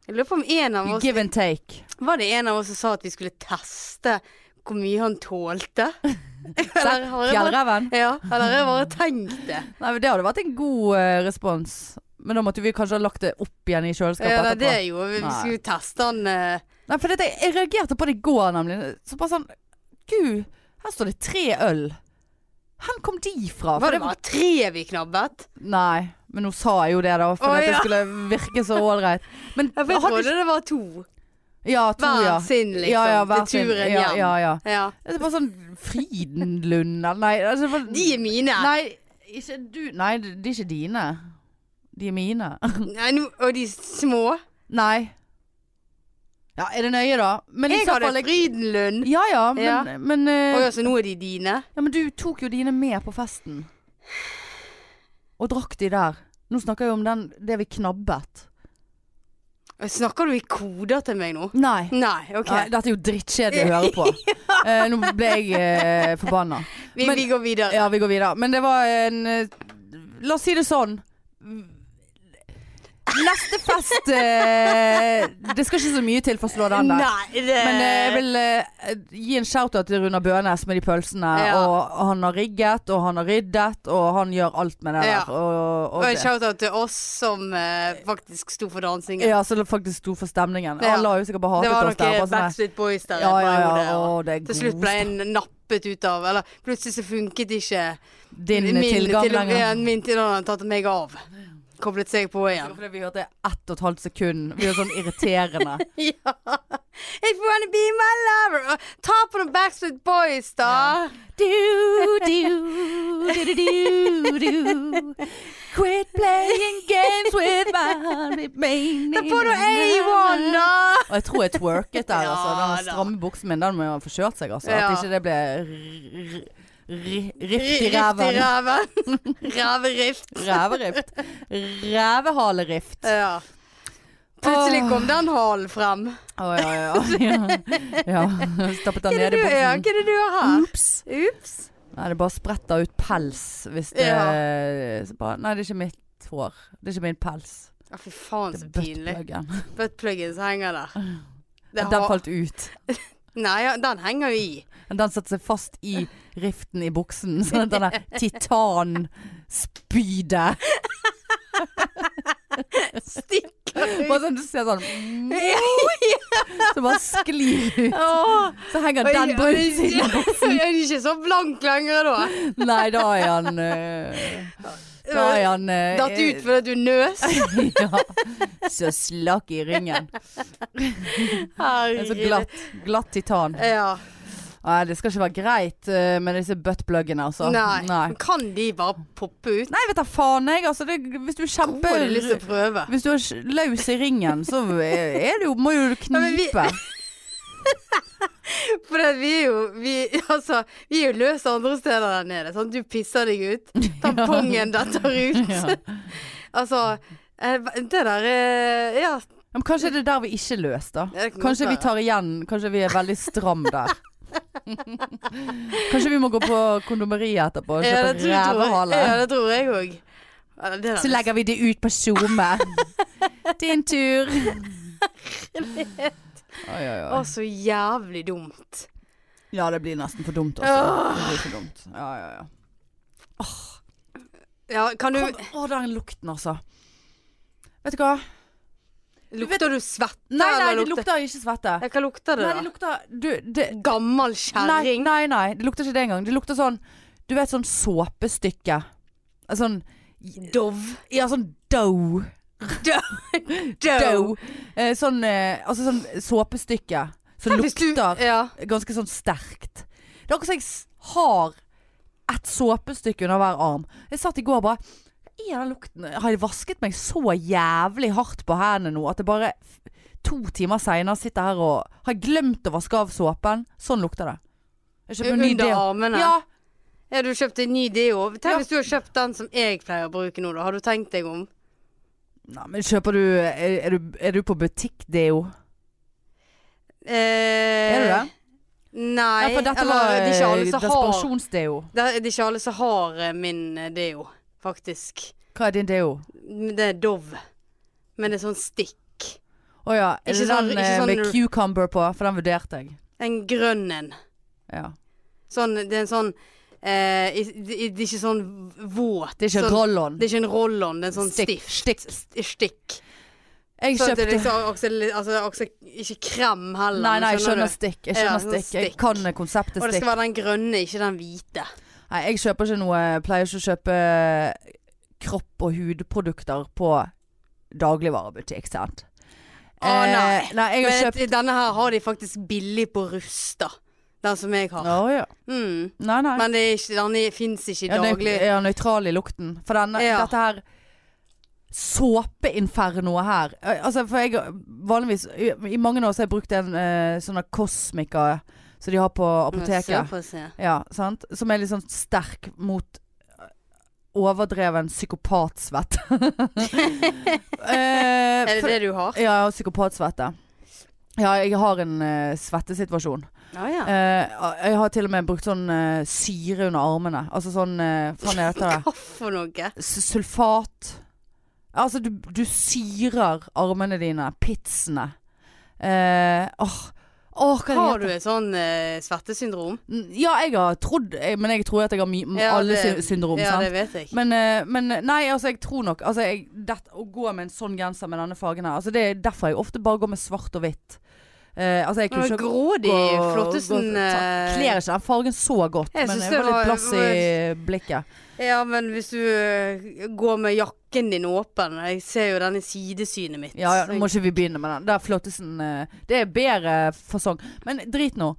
S2: Jeg lurer på om en av oss
S1: Give and take.
S2: Var det en av oss som sa at vi skulle teste hvor mye han tålte? Eller har jeg bare,
S1: Fjellreven.
S2: ja, eller har jeg bare tenkt det?
S1: Nei, men det hadde vært en god eh, respons. Men da måtte vi kanskje ha lagt det opp igjen i kjøleskapet
S2: Ja, det
S1: etterpå.
S2: er jo Vi
S1: Nei.
S2: skulle jo teste han eh,
S1: Nei, for dette, jeg reagerte på det i går, nemlig. Så bare sånn Gud, her står det tre øl. Hvor kom de fra? For
S2: Var det bare tre vi knabbet?
S1: Nei, men nå sa jeg jo det, da. For
S2: Å,
S1: at det
S2: ja.
S1: skulle virke så ålreit. Men
S2: Ja, for Jeg
S1: hadde-
S2: trodde det var to.
S1: Ja, to,
S2: Hver
S1: ja.
S2: sin, liksom.
S1: ja, ja, hver
S2: til
S1: sin.
S2: turen
S1: ja,
S2: hjem.
S1: ja,
S2: Ja,
S1: ja. Det er bare sånn Frydenlund eller Nei, altså, det var-
S2: De er mine. Nei.
S1: Nei, ikke du Nei, de er ikke dine. De er mine.
S2: nå- og de små.
S1: Nei. Ja, er det nøye, da? Men i
S2: Jeg
S1: så
S2: hadde
S1: fall-
S2: Frydenlund.
S1: Ja ja, men,
S2: Ja.
S1: Men, eh,
S2: Å ja, så nå er de dine?
S1: ja, men du tok jo dine med på festen. Og drakk de der. Nå snakker jeg om den, det vi knabbet.
S2: Snakker du i koder til meg nå?
S1: Nei.
S2: Nei, OK.
S1: Nei, dette er jo drittkjedelig å høre på. Eh, nå ble jeg eh, forbanna.
S2: vi,
S1: men-
S2: vi går videre.
S1: Ja, vi går videre. Men det var en eh, La oss si det sånn. Neste fest eh, Det skal ikke så mye til for å slå den der.
S2: Nei, det
S1: Men eh, jeg vil eh, gi en shout-out til Runar Bønes med de pølsene.
S2: Ja.
S1: Og han har rigget, og han har ryddet, og han gjør alt med det
S2: Ja.
S1: der. Og,
S2: Og
S1: og
S2: en
S1: det.
S2: shout-out til oss som eh, faktisk sto for dansingen.
S1: Ja, så det faktisk sto for stemningen.
S2: Ja.
S1: Alle har jo sikkert bare
S2: det var
S1: hatet oss der.
S2: noen
S1: Bare sånn,
S2: Backstreet Boys der.
S1: ja,
S2: i
S1: ja, ja,
S2: perioder, og
S1: å, det er
S2: Til slutt
S1: god
S2: ble jeg nappet ut av Eller plutselig så funket ikke
S1: Din tilgang
S2: til,
S1: lenger.
S2: ja, min tilgang hadde tatt meg av. Koblet seg
S1: Det
S2: på
S1: var
S2: igjen.
S1: Fordi vi hørte ett og et halvt sekund. Vi var sånn irriterende.
S2: Ja. If you wanna be my lover Og Ta på noen Backstreet Boys, da!
S1: Do, do, do, do, do, do. Quit playing games with my remaining
S2: Ta på noe A1, da!
S1: Og jeg tror jeg twerket der,
S2: Ja,
S1: altså. Den
S2: da.
S1: stramme buksen min, den må jo ha forskjørt seg, altså.
S2: Ja.
S1: At ikke det ble r- r- rift i
S2: Rift i
S1: ræven.
S2: ræven. Ræverift.
S1: Ræverift. Rævehalerift.
S2: Ja. Plutselig
S1: Åh.
S2: kom den halen frem.
S1: Å ja, ja, ja. ja. Stappet
S2: Hva
S1: den
S2: er
S1: ned
S2: det
S1: i buksen.
S2: du, ja, hva er det du har her?
S1: Ops.
S2: Ups.
S1: Nei, det bare spretter ut pels hvis det så bare, Nei, det er ikke mitt hår. Det er ikke min pels.
S2: Ja, fy faen
S1: Det
S2: så
S1: er
S2: pinlig.
S1: buttpluggen.
S2: Buttpluggen som henger der. Det
S1: Den
S2: har-
S1: falt ut.
S2: Nei, ja, den henger jo i.
S1: Men Den satte seg fast i riften i buksen. Sånn at denne titanspydet
S2: Stikker ut.
S1: Bare sånn du ser sånn Så bare sklir ut.
S2: Åh.
S1: Så henger den brunt i
S2: Jeg er ikke så blank lenger da.
S1: Nei, da er han eh, Da er han eh,
S2: Datt ut fordi du nøs.
S1: Ja. Så slakk i ringen. Det er Så
S2: Herregud.
S1: glatt. Glatt titan.
S2: Ja.
S1: Nei, det skal ikke være greit eh, med disse buttpluggene, altså.
S2: Nei.
S1: Nei.
S2: Men Kan de bare poppe ut?
S1: Nei, vet da faen jeg. Altså, det, hvis du er
S2: Tror jeg har lyst til
S1: kjempe...
S2: å prøve.
S1: Hvis du er sj- løs i ringen, så er er det jo, må jo du
S2: Ja, men vi-
S1: knipe.
S2: For det, vi er jo vi, altså, vi er jo løse andre steder der nede. Sant? Du pisser deg ut. Tampongen detter ut.
S1: Ja.
S2: altså eh, Det der er Ja.
S1: Ja, Men kanskje det er der vi ikke er løs, da.
S2: det kan
S1: Kanskje vi
S2: godt være.
S1: tar igjen Kanskje vi er veldig stram der. Kanskje vi må gå på kondomeriet etterpå og
S2: ja,
S1: kjøpe
S2: det tror, tror,
S1: rævehale.
S2: jeg- ja, det tror jeg òg. Ja, det der
S1: Så legger vi det ut på SoMe. Din tur. Oi, oi,
S2: Å,
S1: oi.
S2: så jævlig dumt.
S1: Ja, det blir nesten for dumt også. Det blir for dumt. Ja, ja, ja.
S2: Ja, kan du
S1: Kom- Å, den lukten, altså. Vet du hva?
S2: Lukter du svette?
S1: Nei, nei,
S2: eller
S1: det lukter ikke svette.
S2: Ja, Hva lukter det,
S1: Nei, det
S2: da?
S1: lukter du, det,
S2: Gammel
S1: nei,
S2: kjerring?
S1: nei, nei, det lukter ikke det engang. Det lukter sånn Du vet sånn såpestykke. Sånn
S2: Dov?
S1: Ja, sånn dough.
S2: Dov?
S1: Dough. Eh, sånn eh, Altså sånn såpestykke som
S2: Hvis du-
S1: lukter
S2: Ja.
S1: ganske sånn sterkt. Det er akkurat som jeg s- har et såpestykke under hver arm. Jeg satt i går og bare Hva er den lukten? Har jeg vasket meg så jævlig hardt på hendene nå at det bare f- to timer seinere sitter her og har jeg glemt å vaske av såpen? Sånn lukter det. Jeg kjøper en ny
S2: Under
S1: deo.
S2: armene?
S1: Ja,
S2: Ja, du kjøpte en ny deo. Tenk
S1: Ja.
S2: hvis du har kjøpt den som jeg pleier å bruke nå, da. Har du tenkt deg om?
S1: Nei, men kjøper du Er, er, du, er du på butikkdeo?
S2: Eh,
S1: Er du det?
S2: Nei.
S1: Ja, for dette
S2: eller,
S1: var
S2: det er ikke alle
S1: eh,
S2: som har
S1: desperasjonsdeo.
S2: det er det er ikke alle som har eh, min eh, deo, faktisk.
S1: Hva er din deo?
S2: Det er Dove. Men det er sånn stikk.
S1: Å ja. Er
S2: Ikke
S1: det
S2: sånn-
S1: den
S2: ikke
S1: eh, med
S2: sånn-
S1: cucumber på? For den vurderte jeg.
S2: En grønn en.
S1: Ja.
S2: Sånn, det er en sånn eh, i- det, det er ikke sånn våt.
S1: Det er ikke
S2: sånn,
S1: roll-on.
S2: Det er ikke en roll-on, det er en sånn
S1: Stikk, stikk.
S2: stift. St- Stikk.
S1: Jeg
S2: Så at
S1: kjøpte
S2: det er liksom også, altså, også ikke krem heller.
S1: Nei, nei, jeg skjønner
S2: du?
S1: stikk. Jeg
S2: Ja,
S1: skjønner
S2: sånn
S1: stikk. Jeg
S2: stikk.
S1: kan konseptet
S2: Og det
S1: stikk.
S2: skal være den grønne, ikke den hvite.
S1: Nei, jeg kjøper ikke noe Jeg pleier ikke å kjøpe eh, kropp- og hudprodukter på dagligvarebutikk, sant.
S2: Å, nei.
S1: Eh, nei, jeg har
S2: Men
S1: kjøpt
S2: denne her har de faktisk billig på Rusta. Den som jeg har.
S1: Å ja.
S2: Mm.
S1: Nei, nei.
S2: Men det er ikke, den fins ikke i
S1: Ja, nøy-
S2: daglig
S1: Ja, nøytral i lukten. For denne,
S2: Ja.
S1: dette her såpeinfernoet her eh, Altså, for jeg vanligvis I, i mange år så har jeg brukt en eh, sånn Cosmica som de har på
S2: Sånn
S1: apoteket.
S2: Få se.
S1: Ja, sant? Som er litt sånn sterk mot eh, overdreven psykopatsvett.
S2: Er
S1: eh,
S2: det
S1: for,
S2: det du har?
S1: ja, psykopatsvette. Ja, jeg har en eh, svettesituasjon.
S2: Ja, ja.
S1: Eh, jeg har til og med brukt sånn eh, syre under armene. Altså sånn eh, Hva faen heter det?
S2: Hva for noe?
S1: S- Sulfat. Altså, du, du syrer armene dine. Pitsene. Eh, åh, åh, hva er det
S2: Har du et sånn eh, svettesyndrom?
S1: N- Ja, jeg har trodd jeg- Men jeg tror at jeg har my m-
S2: Ja,
S1: alle
S2: det-
S1: sy- syndrom,
S2: Ja, det
S1: sant?
S2: vet jeg.
S1: Men, eh, men nei, altså jeg tror nok altså, jeg, det, Å gå med en sånn genser med denne fargen her altså, Det er derfor jeg ofte bare går med svart og hvitt eh, Altså jeg kunne
S2: Men
S1: ikke
S2: Grådig
S1: gå-
S2: Flottesen
S1: gå- ta-
S2: eh,
S1: sånn, Kler ikke den fargen så godt
S2: Jeg
S1: Men
S2: synes
S1: jeg
S2: det
S1: var litt
S2: var-
S1: plass i blikket
S2: Ja, men hvis du eh, går med jakken din åpen Jeg ser jo den i sidesynet mitt.
S1: Ja, ja, nå
S2: Så-
S1: må ikke vi begynne med den. Det er flottesen eh, Det er bedre fasong. Men drit nå.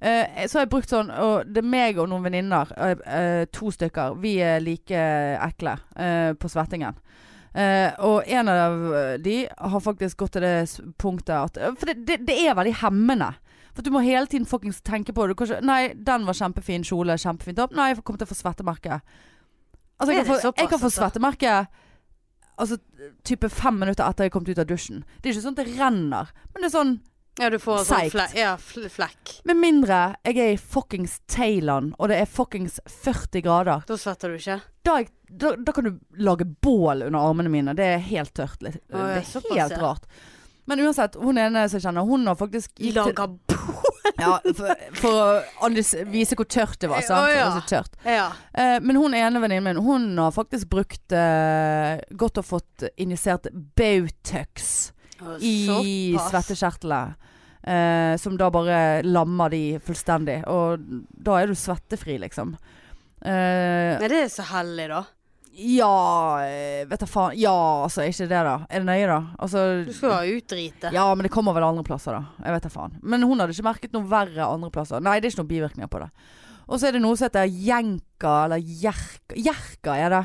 S1: Eh, så har jeg brukt sånn, og det er meg og noen venninner, eh, eh, to stykker, vi er like ekle eh, på svettingen. Eh, og en av de har faktisk gått til det s- punktet at For det, det, det er veldig hemmende. For du må hele tiden fuckings tenke på det. Du kan ikke- Nei, den var kjempefin kjole, kjempefin topp. Nei, jeg kommer til å få svettemerke. Altså, jeg
S2: Er
S1: kan
S2: det
S1: få, jeg kan
S2: såpass,
S1: få svettemerke altså, type fem minutter etter jeg har kommet ut av dusjen. Det er ikke sånn at det renner, men det er sånn
S2: Ja, du får sånn
S1: Seigt.
S2: flekk. Ja, fl flekk.
S1: Med mindre jeg er i fuckings Thailand, og det er fuckings 40 grader,
S2: Da svetter du ikke?
S1: da, er jeg, da, da kan du lage bål under armene mine. Det er helt tørt. Litt.
S2: Å, ja,
S1: det er
S2: såpass,
S1: helt
S2: ja.
S1: rart. Men uansett, hun ene som jeg kjenner, hun har faktisk gikk til-
S2: Lager bo...
S1: ja, for, for å analys- vise hvor tørt det var. Sant?
S2: Å, ja.
S1: Altså, tørt.
S2: Ja.
S1: Eh, men hun ene venninnen min, hun har faktisk brukt eh, Godt og fått injisert Botox i
S2: Såpass.
S1: svettekjertlene. Eh, som da bare lammer de fullstendig. Og da er du svettefri, liksom. Eh,
S2: Nei, det er så hellig, da.
S1: Ja eh, Vet da faen. Ja, altså. Er ikke det, da? Er det nøye, da? Altså
S2: Du skal jo ha utdrite.
S1: Ja, men det kommer vel andre plasser, da. Jeg vet da faen. Men hun hadde ikke merket noe verre andre plasser. Nei, det er ikke noen bivirkninger på det. Og så er det noe som heter jenka, eller jerka Jerka er det.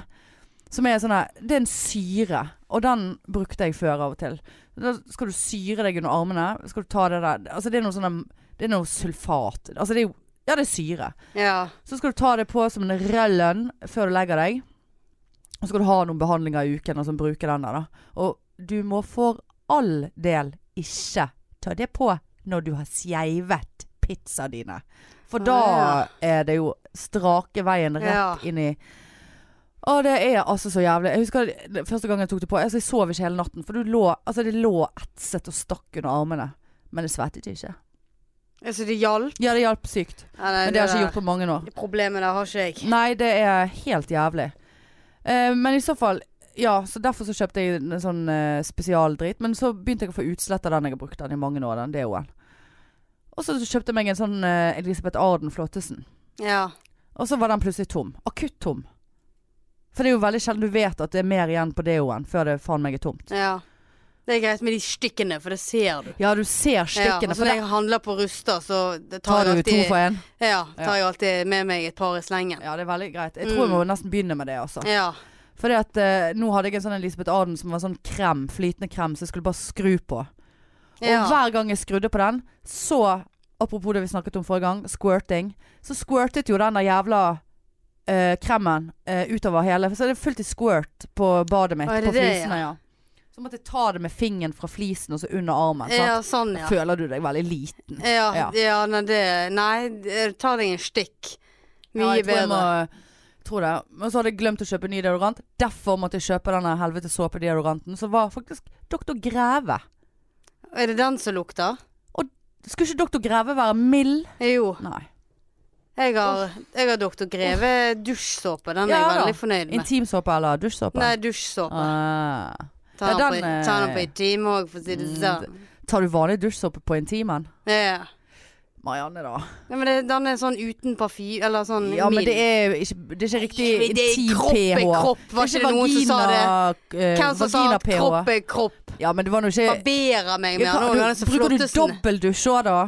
S1: Som er sånn her Det er en syre. Og den brukte jeg før av og til. Da skal du syre deg under armene. Skal du ta det der Altså, det er noe sånn Det er noe sulfat. Altså, det er jo Ja, det er syre.
S2: Ja.
S1: Så skal du ta det på som en rellen før du legger deg. Og så skal du ha noen behandlinger i uken og sånn bruke den der, da. Og du må for all del ikke ta det på når du har skeivet pizza dine. For
S2: Å,
S1: da er det jo strake veien rett
S2: Ja.
S1: inn i Å, det er altså så jævlig. Jeg husker det- første gang jeg tok det på. Altså, jeg sov ikke hele natten. For du lå, altså, det lå etset og stakk under armene. Men det svettet ikke.
S2: Altså, det hjalp.
S1: Ja, det hjalp sykt.
S2: Ja, nei,
S1: Men det har jeg ikke
S2: der-
S1: gjort på mange år.
S2: Det problemet der har ikke jeg.
S1: Nei, det er helt jævlig. Eh, men i så fall Ja, så derfor så kjøpte jeg en sånn eh, spesialdrit. Men så begynte jeg å få utslett av den jeg har brukt den i mange år, den DO-en. Og så kjøpte jeg meg en sånn eh, Elisabeth Arden Flåttesen.
S2: Ja.
S1: Og så var den plutselig tom. Akutt tom. For det er jo veldig sjelden du vet at det er mer igjen på DO-en før det faen meg er tomt.
S2: ja. Det er greit med de stykkene, for det ser du.
S1: Ja, du ser stikkene.
S2: ja, altså,
S1: for
S2: når
S1: det
S2: jeg handler på Rusta, så det tar,
S1: tar du
S2: jeg
S1: to
S2: alltid,
S1: for én.
S2: Ja, tar jeg alltid med meg et par i slengen.
S1: Ja, det er veldig greit. Jeg tror jeg må nesten begynne med det, altså.
S2: Ja.
S1: Fordi at eh, nå hadde jeg en sånn Elisabeth Arden som var sånn krem, flytende krem, så jeg skulle bare skru på. Og
S2: Ja.
S1: hver gang jeg skrudde på den, så Apropos det vi snakket om forrige gang, squirting. Så squirtet jo den der jævla eh, kremen eh, utover hele. Så det er fullt i squirt på badet mitt.
S2: Å, er det
S1: på
S2: det,
S1: flisene, ja. Så måtte jeg ta det med fingeren fra flisen og så under armen. Sant?
S2: ja, sånn, ja.
S1: Føler du deg veldig liten?
S2: Ja,
S1: Ja.
S2: ja. nei, det Nei, det- ta deg en stikk.
S1: Ja,
S2: Mye
S1: jeg tror jeg
S2: bedre.
S1: Må, tror det. Men så hadde jeg glemt å kjøpe ny deodorant. Derfor måtte jeg kjøpe denne helvete såpedeodoranten, som var faktisk Doktor Greve.
S2: Er det den som lukter?
S1: Skulle ikke doktor Greve være mild?
S2: Jo.
S1: Nei.
S2: Jeg har, jeg har Dr. Greve dusjsåpe. Den er
S1: Ja
S2: jeg
S1: da.
S2: veldig fornøyd med.
S1: Intimsåpe eller dusjsåpe?
S2: Nei, dusjsåpe.
S1: Ah.
S2: Ta
S1: Ja,
S2: den,
S1: den,
S2: på,
S1: eh,
S2: ta den på i time òg, for å si det
S1: Mm,
S2: sånn.
S1: Tar du vanlig dusjsåpe på intimen?
S2: Ja.
S1: Marianne, da.
S2: Ja, men det, den er sånn uten parfyme, eller sånn
S1: Ja, men
S2: mild.
S1: det er ikke, det er ikke riktig
S2: Men det er kropp er
S1: intim-ph.
S2: kropp, var ikke det noen som sa det? Hvem som sa at kropp
S1: Vagina-ph.
S2: er kropp?
S1: eh, Ja, men det var nå ikke
S2: Barberer meg
S1: Eh,
S2: mer
S1: Ja,
S2: nå.
S1: hva-
S2: Den er
S1: du,
S2: så
S1: Bruker du
S2: flottesten.
S1: dobbeltdusj òg, da?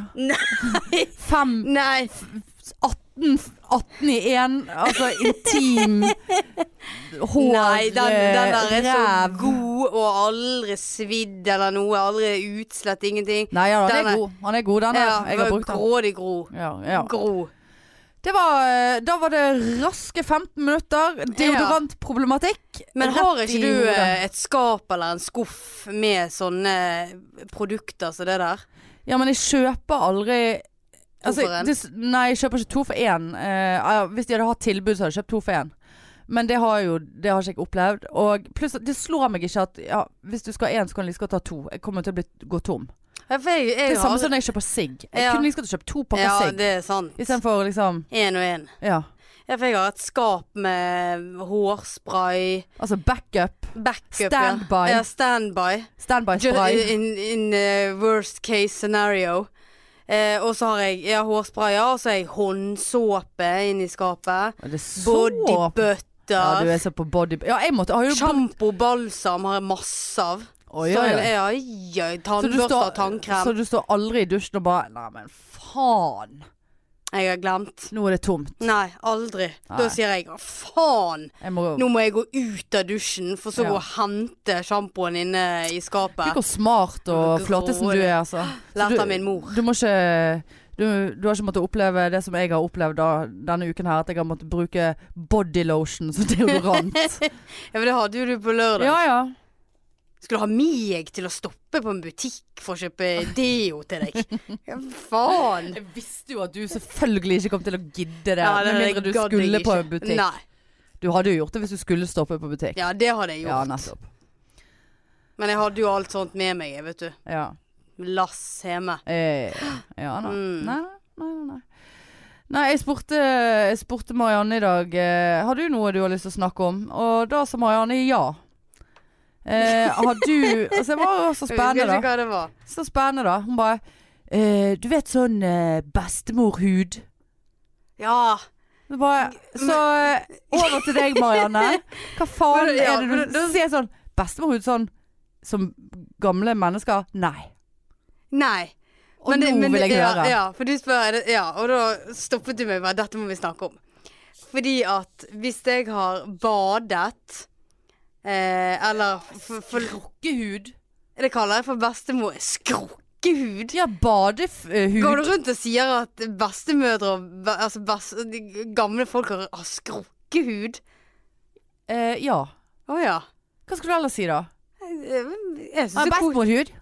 S1: Fem
S2: Nei.
S1: 18, 18 i 1 Altså intim Hår
S2: Nei, den, den der er
S1: eh,
S2: så
S1: ræv.
S2: god og aldri svidd eller noe. Aldri utslett, ingenting.
S1: Nei, ja, den
S2: Den
S1: er
S2: er-
S1: god. Han er god, den der.
S2: Ja,
S1: Jeg har brukt den.
S2: grådig gro.
S1: Ja, ja.
S2: Gro.
S1: Det var, eh, da var det raske 15 minutter. Deodorantproblematikk.
S2: Men
S1: Rett
S2: har
S1: i
S2: ikke du
S1: hodet.
S2: eh, et skap eller en skuff med sånne eh, produkter som det der?
S1: Ja, men jeg kjøper aldri altså,
S2: To for en?
S1: det, nei, jeg kjøper ikke to for én. Eh, ja, hvis de hadde hatt tilbud, så hadde jeg kjøpt to for én. Men det har jo det har ikke jeg opplevd. Og pluss, det slår meg ikke at ja, hvis du skal ha én, så kan du like godt ha to. Jeg kommer til å bli, gå tom.
S2: Ja, for jeg, jeg
S1: Det er
S2: har
S1: samme
S2: aldri-
S1: som når jeg kjøper sigg. Jeg
S2: Ja.
S1: kunne like godt kjøpt to pakker
S2: Ja,
S1: sigg
S2: det er sant.
S1: istedenfor liksom
S2: Én og én.
S1: Ja.
S2: Ja, for jeg har et skap med hårspray,
S1: Altså backup.
S2: backup ja.
S1: Standby.
S2: Ja, standby. Ju-
S1: Standby-spray.
S2: In, in eh, worst case scenario. Eh, og så har jeg ja, hårsprayer, og så har jeg håndsåpe inni skapet.
S1: Er det så
S2: Body
S1: Ja, du
S2: butter.
S1: er så på body Ja, jeg måtte har jo
S2: Sjampo, balsam har jeg masse av.
S1: Oi, oi,
S2: Så,
S1: oi.
S2: ja, ja,
S1: Så du
S2: tannbørste
S1: står-
S2: og tannkrem.
S1: Så du står aldri i dusjen og bare Nei, men faen.
S2: Jeg har glemt.
S1: Nå er det tomt.
S2: Nei, aldri. Da
S1: Nei.
S2: sier jeg «Å, faen,
S1: Jeg må
S2: nå må jeg gå ut av dusjen, for så
S1: Ja.
S2: gå og hente sjampoen inne i skapet.
S1: Tenk hvor smart og
S2: Hvor
S1: flåtesen du
S2: grådig.
S1: er, altså. Så
S2: Lært
S1: du-
S2: av min mor.
S1: Du må ikke du, du har ikke måttet oppleve det som jeg har opplevd da, denne uken her. At jeg har måttet bruke bodylotion som deodorant.
S2: Ja, men det hadde jo du på lørdag.
S1: ja ja.
S2: Skulle du ha meg til å stoppe på en butikk for å kjøpe deo til deg? Ja, faen.
S1: Jeg visste jo at du selvfølgelig ikke kom til å gidde det.
S2: Ja,
S1: med
S2: det
S1: mindre du
S2: gadd jeg
S1: skulle på
S2: ikke.
S1: en butikk.
S2: Nei.
S1: Du hadde jo gjort det hvis du skulle stoppe på butikk.
S2: Ja, det hadde jeg
S1: Ja,
S2: gjort.
S1: nettopp.
S2: Men jeg hadde jo alt sånt med meg, jeg, vet du.
S1: Ja.
S2: Lass hjemme.
S1: Eh, ja da.
S2: Mm.
S1: Nei, nei, nei, nei. Nei, jeg spurte, jeg spurte Marianne i dag eh, Har du noe du har lyst til å snakke om? Og da sa Marianne ja. Eh, har du Altså, det var så
S2: Jeg
S1: spennende,
S2: husker
S1: da.
S2: ikke hva det var.
S1: Så spennende, da. Hun bare eh, Du vet sånn eh, bestemorhud?
S2: Ja.
S1: Det var, så eh, over til deg, Marianne. Hva faen
S2: Men, ja,
S1: er det
S2: men
S1: du
S2: da-
S1: sier sånn Bestemor ut sånn som gamle mennesker? Nei.
S2: Nei.
S1: Og nå vil jeg
S2: ja,
S1: høre.
S2: Ja, for du spør, er det- ja, og da stoppet du meg bare. Dette må vi snakke om. Fordi at hvis jeg har badet eh, Eller for, for,
S1: Rukkehud.
S2: Det kaller jeg for bestemor. Skrukkehud.
S1: Ja,
S2: Går du
S1: badehud.
S2: rundt og sier at bestemødre og be- altså best, de gamle folk har, har skrukkehud?
S1: Eh, ja.
S2: Å ja.
S1: Hva skulle du ellers si, da?
S2: Jeg, jeg
S1: Ja,
S2: synes det er kos-
S1: Bestemorhud?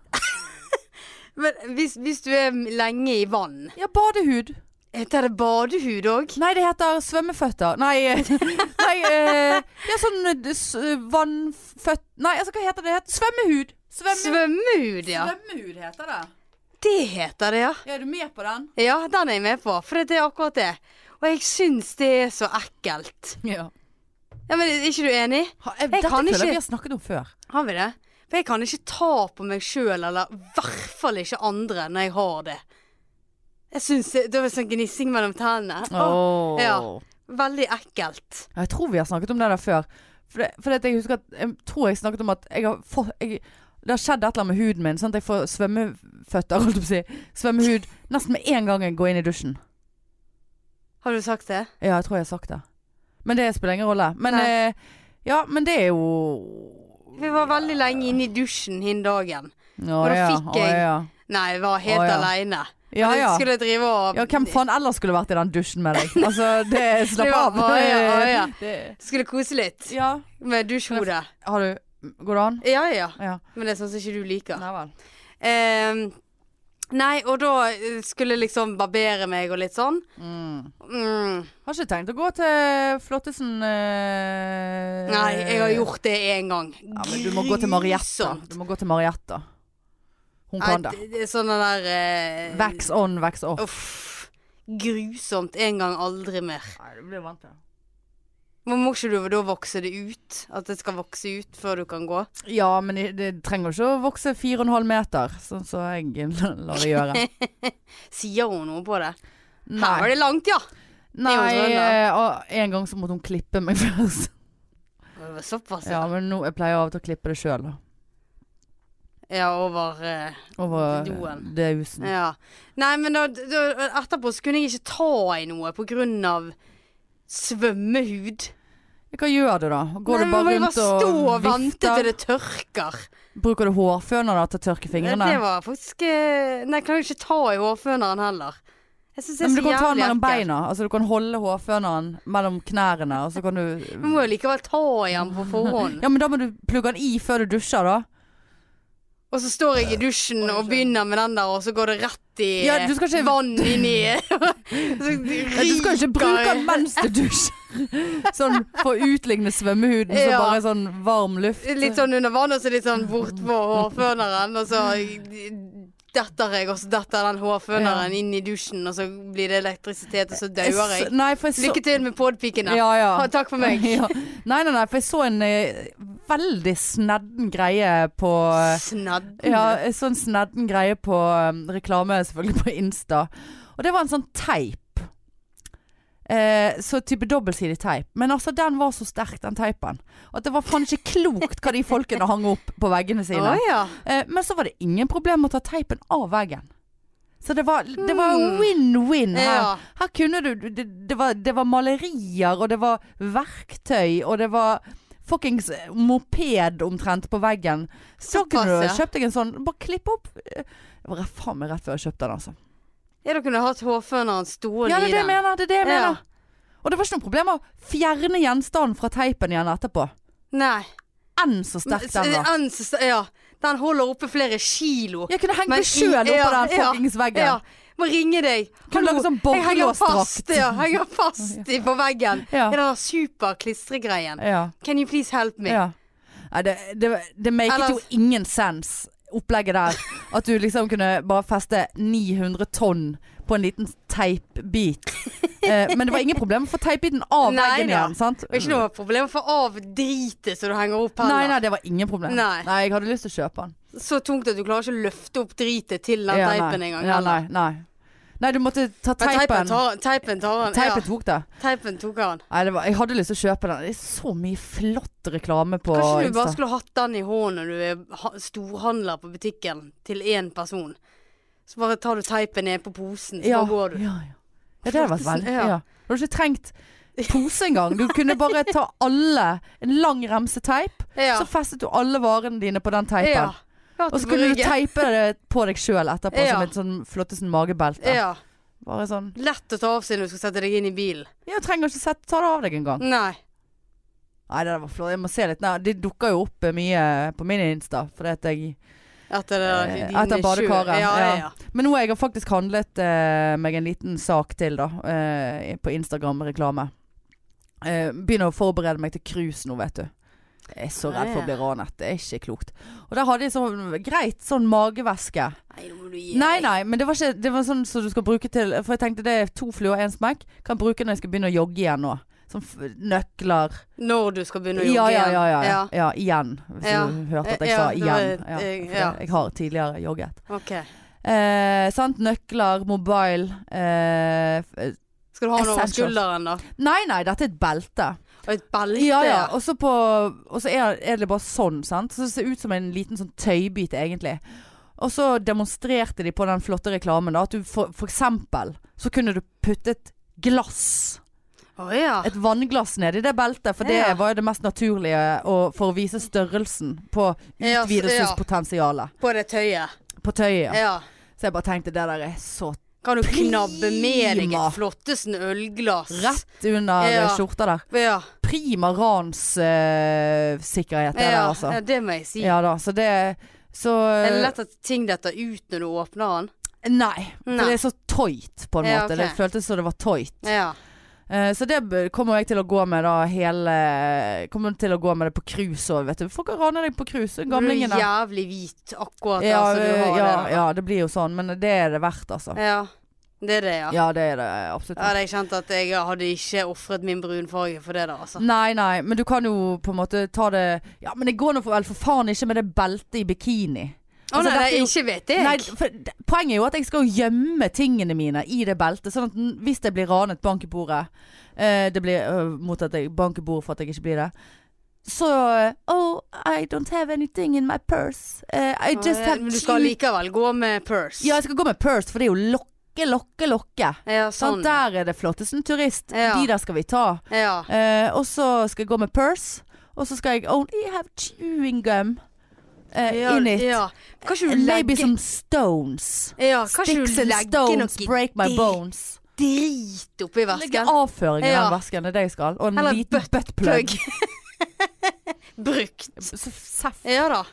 S2: Men hvis, hvis du er lenge i vann
S1: Ja, badehud.
S2: Heter det badehud òg?
S1: Nei, det heter svømmeføtter. Nei, eh, nei eh, Det er sånn eh, s- eh, vannføtt... Nei, altså, hva heter det? det? heter- Svømmehud. Svømme,
S2: Svømmehud, ja.
S1: Svømmehud heter det.
S2: Det heter det, ja.
S1: Ja, Er du med på den?
S2: Ja, den er jeg med på, for det er akkurat det. Og jeg syns det er så ekkelt.
S1: Ja.
S2: Ja, men Er ikke du enig?
S1: Ha, jeg,
S2: Jeg
S1: dette
S2: kan
S1: føler jeg
S2: ikke-
S1: vi har snakket om før.
S2: Har vi det? For jeg kan ikke ta på meg sjøl, eller i hvert fall ikke andre, når jeg har det. Jeg syns det, det var sånn gnissing mellom tennene. Åh. ja. Veldig ekkelt.
S1: Ja, Jeg tror vi har snakket om det der før. For, det, for det, at jeg husker at Jeg tror jeg snakket om at jeg har fått jeg, Det har skjedd et eller annet med huden min. Sånn at jeg får svømmeføtter, holdt jeg på å si. Svømmehud nesten med en gang jeg går inn i dusjen.
S2: Har du sagt det?
S1: Ja, jeg tror jeg har sagt det. Men det spiller ingen rolle. Men
S2: Nei.
S1: eh, Ja, men det er jo
S2: Vi var veldig lenge inne i dusjen hin dagen.
S1: Å,
S2: Og da
S1: ja.
S2: fikk
S1: å,
S2: jeg-
S1: ja.
S2: Nei, jeg var helt
S1: Å, ja.
S2: aleine.
S1: Ja, ja.
S2: Skulle jeg drive og
S1: ja, hvem faen ellers skulle vært i den dusjen med deg? Altså, det Slapp
S2: Ja,
S1: av.
S2: å, ja, å, ja.
S1: Det-
S2: Skulle kose litt
S1: ja.
S2: med dusjhodet.
S1: Har du Går det an?
S2: Ja ja.
S1: Ja.
S2: Men det er sånn som ikke du liker.
S1: Nei vel.
S2: Ehm, nei, og da eh, skulle jeg liksom barbere meg og litt sånn.
S1: Mm.
S2: Mm.
S1: Har ikke tenkt å gå til Flottesen eh,
S2: Nei, jeg har gjort det én gang.
S1: ja, men Du må gå til Marietta.
S2: Grusomt.
S1: Du må gå til Marietta. Hun
S2: Nei,
S1: kan det.
S2: det- det er sånn den der eh,
S1: Vax on, vax off.
S2: Uff. Grusomt. En gang, aldri mer.
S1: Nei, det blir du vant til.
S2: Men må ikke du da vokse det ut? At det skal vokse ut før du kan gå?
S1: Ja, men det- det trenger ikke å vokse 4,5 meter, sånn som jeg lar det gjøre.
S2: Sier hun noe på det? Her
S1: Nei,
S2: var det langt, ja.
S1: Nei
S2: det er jo
S1: eh, og en gang så måtte hun klippe meg først.
S2: Det var Såpass, ja.
S1: Ja, men nå, jeg pleier av og til å klippe det sjøl, da.
S2: Ja, over eh,
S1: Over
S2: Doen.
S1: det huset.
S2: Ja. Nei, men da, da, etterpå så kunne jeg ikke ta i noe på grunn av svømmehud.
S1: Hva gjør du da? Går
S2: Nei,
S1: du
S2: men
S1: bare
S2: må
S1: rundt
S2: bare stå
S1: og
S2: og vente til
S1: vifter?
S2: det tørker.
S1: Bruker du hårføner da til å tørke fingrene?
S2: Det var faktisk eh, Nei, jeg kan jo ikke ta i hårføneren heller. Jeg syns det
S1: Men
S2: er
S1: du
S2: så
S1: kan ta den
S2: jævlig
S1: mellom
S2: ekkelt.
S1: beina. Altså du kan holde hårføneren mellom knærne, og så kan du
S2: Du må jo likevel ta i den på forhånd.
S1: Ja, men da må du plugge den i før du dusjer, da.
S2: Og så står jeg i dusjen og begynner med den der, og så går det rett i
S1: Ja, du skal ikke-
S2: vann inni så
S1: Nei, Du skal jo ikke bruke den mens du dusjer. Sånn for å utligne svømmehuden som
S2: Ja.
S1: bare er sånn varm luft.
S2: Litt sånn under vann, og så litt sånn bortpå hårføneren, og så detter jeg, og så detter den hårføneren inn i dusjen, og så blir det elektrisitet, og så
S1: Jeg
S2: dauer
S1: s-
S2: jeg.
S1: Nei, for jeg så
S2: Lykke til med podpikene.
S1: Ja, ja.
S2: Ha, takk for meg.
S1: Ja. Nei, nei, nei, for jeg så en eh, veldig snedden greie på
S2: Snadden.
S1: Ja, jeg så en snedden greie på um, reklame selvfølgelig på Insta. Og det var en sånn teip. Eh, så type dobbeltsidig teip. Men altså, den var så sterk, den teipen. At det var faen ikke klokt hva de folkene hang opp på veggene
S2: Å
S1: sine.
S2: ja.
S1: Eh, men så var det ingen problem med å ta teipen av veggen. Så det var det var
S2: Mm.
S1: win-win her.
S2: Ja.
S1: Her kunne du det, det, var, det var malerier, og det var verktøy, og det var fuckings eh, moped omtrent på veggen. Så
S2: Såpass,
S1: kunne du
S2: ja.
S1: kjøpt deg en sånn. Bare klipp opp. Det var rett- faen meg rett før jeg kjøpte den, altså.
S2: ja, da kunne du hatt hårføneren
S1: Ja,
S2: stående
S1: det er det jeg
S2: i den.
S1: mener. Det er det jeg
S2: Ja.
S1: mener. Og det var ikke noe problem å fjerne gjenstanden fra teipen igjen etterpå.
S2: Nei.
S1: Enn så sterk den var.
S2: En så st- Ja. Den holder oppe flere kilo.
S1: Jeg kunne hengt
S2: Men
S1: meg sjøl
S2: i-
S1: oppå
S2: ja,
S1: den
S2: ja,
S1: fuckings veggen.
S2: Ja. Må ringe deg.
S1: Kan du
S2: Hallo,
S1: lage sånn
S2: Jeg henger fast,
S1: borrelåsdrakt?
S2: ja, henger fast i- på veggen.
S1: Ja.
S2: I den der superklistregreien.
S1: Ja.
S2: Can you please help me?
S1: Ja. Nei, det, det, det maket
S2: Eller-
S1: jo ingen sens, opplegget der. At du liksom kunne bare feste 900 tonn på en liten teipbit. Eh, men det var ingen problem å få teipbiten av
S2: Nei
S1: veggen
S2: da.
S1: igjen, sant?
S2: Og ikke noe problem for av dritet som du henger opp
S1: Nei,
S2: heller.
S1: nei, det var ingen problem.
S2: Nei.
S1: jeg hadde lyst til å kjøpe den.
S2: Så tungt at du klarer ikke å løfte opp dritet til den
S1: Ja, nei.
S2: teipen engang.
S1: Ja,
S2: heller.
S1: nei, nei. Nei, du måtte ta
S2: Men teipen
S1: teipen.
S2: tar, teipen tar han.
S1: Teipen tok det.
S2: Ja, teipen tok han.
S1: Nei, det var, jeg hadde lyst til å kjøpe den. Det er så mye flott reklame på
S2: Kanskje du bare
S1: Insta.
S2: skulle hatt den i hånden når du er ha- storhandler på butikken til én person. Så bare tar du teipen ned på posen, så
S1: Ja,
S2: bare går du.
S1: ja, ja. ja, det hadde vært veldig
S2: Ja.
S1: ja. Du hadde ikke trengt pose engang. Du kunne bare ta alle En lang remseteip,
S2: Ja.
S1: så festet du alle varene dine på den teipen.
S2: Ja. Ja,
S1: Og så
S2: til
S1: kunne du
S2: brygge.
S1: teipe det på deg sjøl etterpå
S2: Ja.
S1: som et sånn flottesen magebelte.
S2: Ja.
S1: Bare sånn
S2: Lett å ta av seg når du skal sette deg inn i bilen.
S1: Jeg trenger ikke sette, ta det av deg engang.
S2: Nei.
S1: Nei, det der var flott. Jeg må se litt. Nei, det dukker jo opp eh, mye på min Insta. Fordi at jeg
S2: Etter, det-
S1: Eh,
S2: dine
S1: etter
S2: sju-
S1: badekaret,
S2: Ja, ja,
S1: ja.
S2: ja.
S1: Men nå har jeg faktisk handlet eh, meg en liten sak til, da. Eh, på Instagram-reklame. Eh, begynner å forberede meg til cruise nå, vet du. Jeg er så redd for å bli ranet. Det er ikke klokt. Og der hadde jeg sånn greit sånn magevæske.
S2: Nei, nå må du gi
S1: Nei,
S2: deg.
S1: nei, men det var ikke Det var sånn som du skal bruke til For jeg tenkte det er to fluer og én smekk. Kan bruke når jeg skal begynne å jogge igjen nå. Sånn f nøkler
S2: Når du skal begynne å jogge
S1: ja, ja, ja, ja, ja.
S2: igjen.
S1: ja. Igjen. Hvis
S2: Ja.
S1: du hørte at jeg
S2: Ja,
S1: sa
S2: det var
S1: igjen.
S2: et-
S1: Ja,
S2: eh,
S1: for
S2: ja.
S1: det- jeg har tidligere jogget.
S2: Ok.
S1: Eh, sant? Nøkler, mobil eh, f-
S2: Skal du ha noe over
S1: Essentials.
S2: skulderen, da?
S1: Nei, nei, dette er et belte.
S2: Og et belte?
S1: Ja, ja. Og så på- og så er, er det bare sånn, sant. Så det ser ut som en liten sånn tøybit, egentlig. Og så demonstrerte de på den flotte reklamen da, at du for, for eksempel så kunne du puttet glass,
S2: Å, ja.
S1: et vannglass ned i det beltet, for det
S2: Ah. Ja.
S1: var jo det mest naturlige og, for å vise størrelsen på
S2: Ja, så- ja.
S1: utvidelsespotensialet
S2: På det tøyet.
S1: på tøyet.
S2: Ja.
S1: Så jeg bare tenkte det der er så
S2: Kan du knabbe med deg
S1: Prima.
S2: et flottesen ølglass?
S1: rett under eh,
S2: Ja.
S1: skjorta der.
S2: Ja.
S1: prima ranssikkerhet, det der,
S2: ja.
S1: altså.
S2: ja, det må jeg si.
S1: Ja da, så det Så eh,
S2: Er det lett at ting detter ut når du åpner den?
S1: Nei. For
S2: Nei.
S1: det er så tøyt, på en
S2: Ja,
S1: måte.
S2: ok.
S1: Det føltes som det var tøyt.
S2: Ja.
S1: Eh, så det b- kommer jeg til å gå med da hele Kommer til å gå med det på cruise òg, vet du. Folk kan rane deg på cruise,
S2: Du er
S1: gamlingene.
S2: jævlig hvit akkurat
S1: ja,
S2: altså, du har
S1: ja,
S2: det.
S1: ja, det blir jo sånn. Men det er det verdt, altså.
S2: da. ja. Det er det, ja.
S1: Ja, det er det absolutt.
S2: Ja, det jeg kjente at jeg hadde ikke ofret min brunfarge for det der, altså.
S1: Nei, nei, men du kan jo på en måte ta det Ja, men det går nå for, vel for faen ikke med det beltet i bikini.
S2: Å
S1: Altså, dette
S2: nei, nei,
S1: er jo-
S2: ikke vet jeg.
S1: Nei, for d- poenget er jo at jeg skal jo gjemme tingene mine i det beltet. Sånn at n- hvis jeg blir ranet, bank i bordet eh, Det blir øh, mot at jeg bank i bordet for at jeg ikke blir det. Så eh, Oh, I don't have anything in my purse. Eh, I
S2: Å,
S1: just
S2: ja,
S1: have
S2: Men du
S1: cute-
S2: skal likevel gå med purse.
S1: Ja, jeg skal gå med purse, for det er jo lokke, lokke, lokke.
S2: ja
S1: Sånn.
S2: sånn.
S1: Der er det flotteste en turist.
S2: Ja.
S1: De der skal vi ta.
S2: Ja.
S1: Eh, og så skal jeg gå med purse. Og så skal jeg only have chewing gum eh,
S2: ja,
S1: in it.
S2: Ja. Kanskje du
S1: And maybe
S2: legger
S1: some stones.
S2: ja, kanskje du
S1: Sticks and
S2: legger
S1: stones
S2: noe
S1: break my
S2: dri-
S1: bones.
S2: drit oppi
S1: Legge
S2: vesken.
S1: avføring i
S2: Ja.
S1: den vesken, det er det jeg skal. Og en
S2: Eller
S1: liten buttplug.
S2: Brukt.
S1: Så, seff.
S2: Ja da.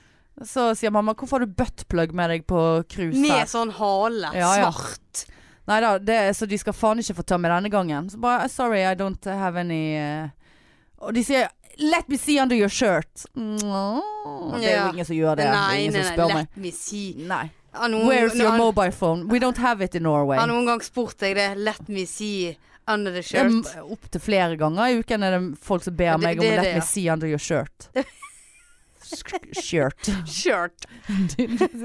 S1: så sier mamma 'hvorfor har du buttplug med deg på cruise
S2: Med
S1: her?'
S2: sånn hale.
S1: Ja, ja.
S2: Svart.
S1: Nei da, det, er- så de skal faen ikke få ta med denne gangen. Så bare "Eh, 'sorry, I don't have any eh». Og de sier 'let me see under your shirt'. Mm, det er
S2: Ja.
S1: jo ingen som gjør det. Det er
S2: Nei,
S1: ingen
S2: nei,
S1: som
S2: nei.
S1: spør meg.
S2: Let Mm, me see.
S1: Nei.
S2: Har noen,
S1: Where's your
S2: har-
S1: mobile phone? We don't have it in Norway.
S2: har noen gang spurt deg det? Let me see under the
S1: Ja,
S2: shirt.
S1: m- Opptil flere ganger i uken er det folk som ber
S2: det-
S1: meg om
S2: det er
S1: Let
S2: det,
S1: me
S2: ja.
S1: see under your shirt. Sk- Shirt.
S2: Shirt.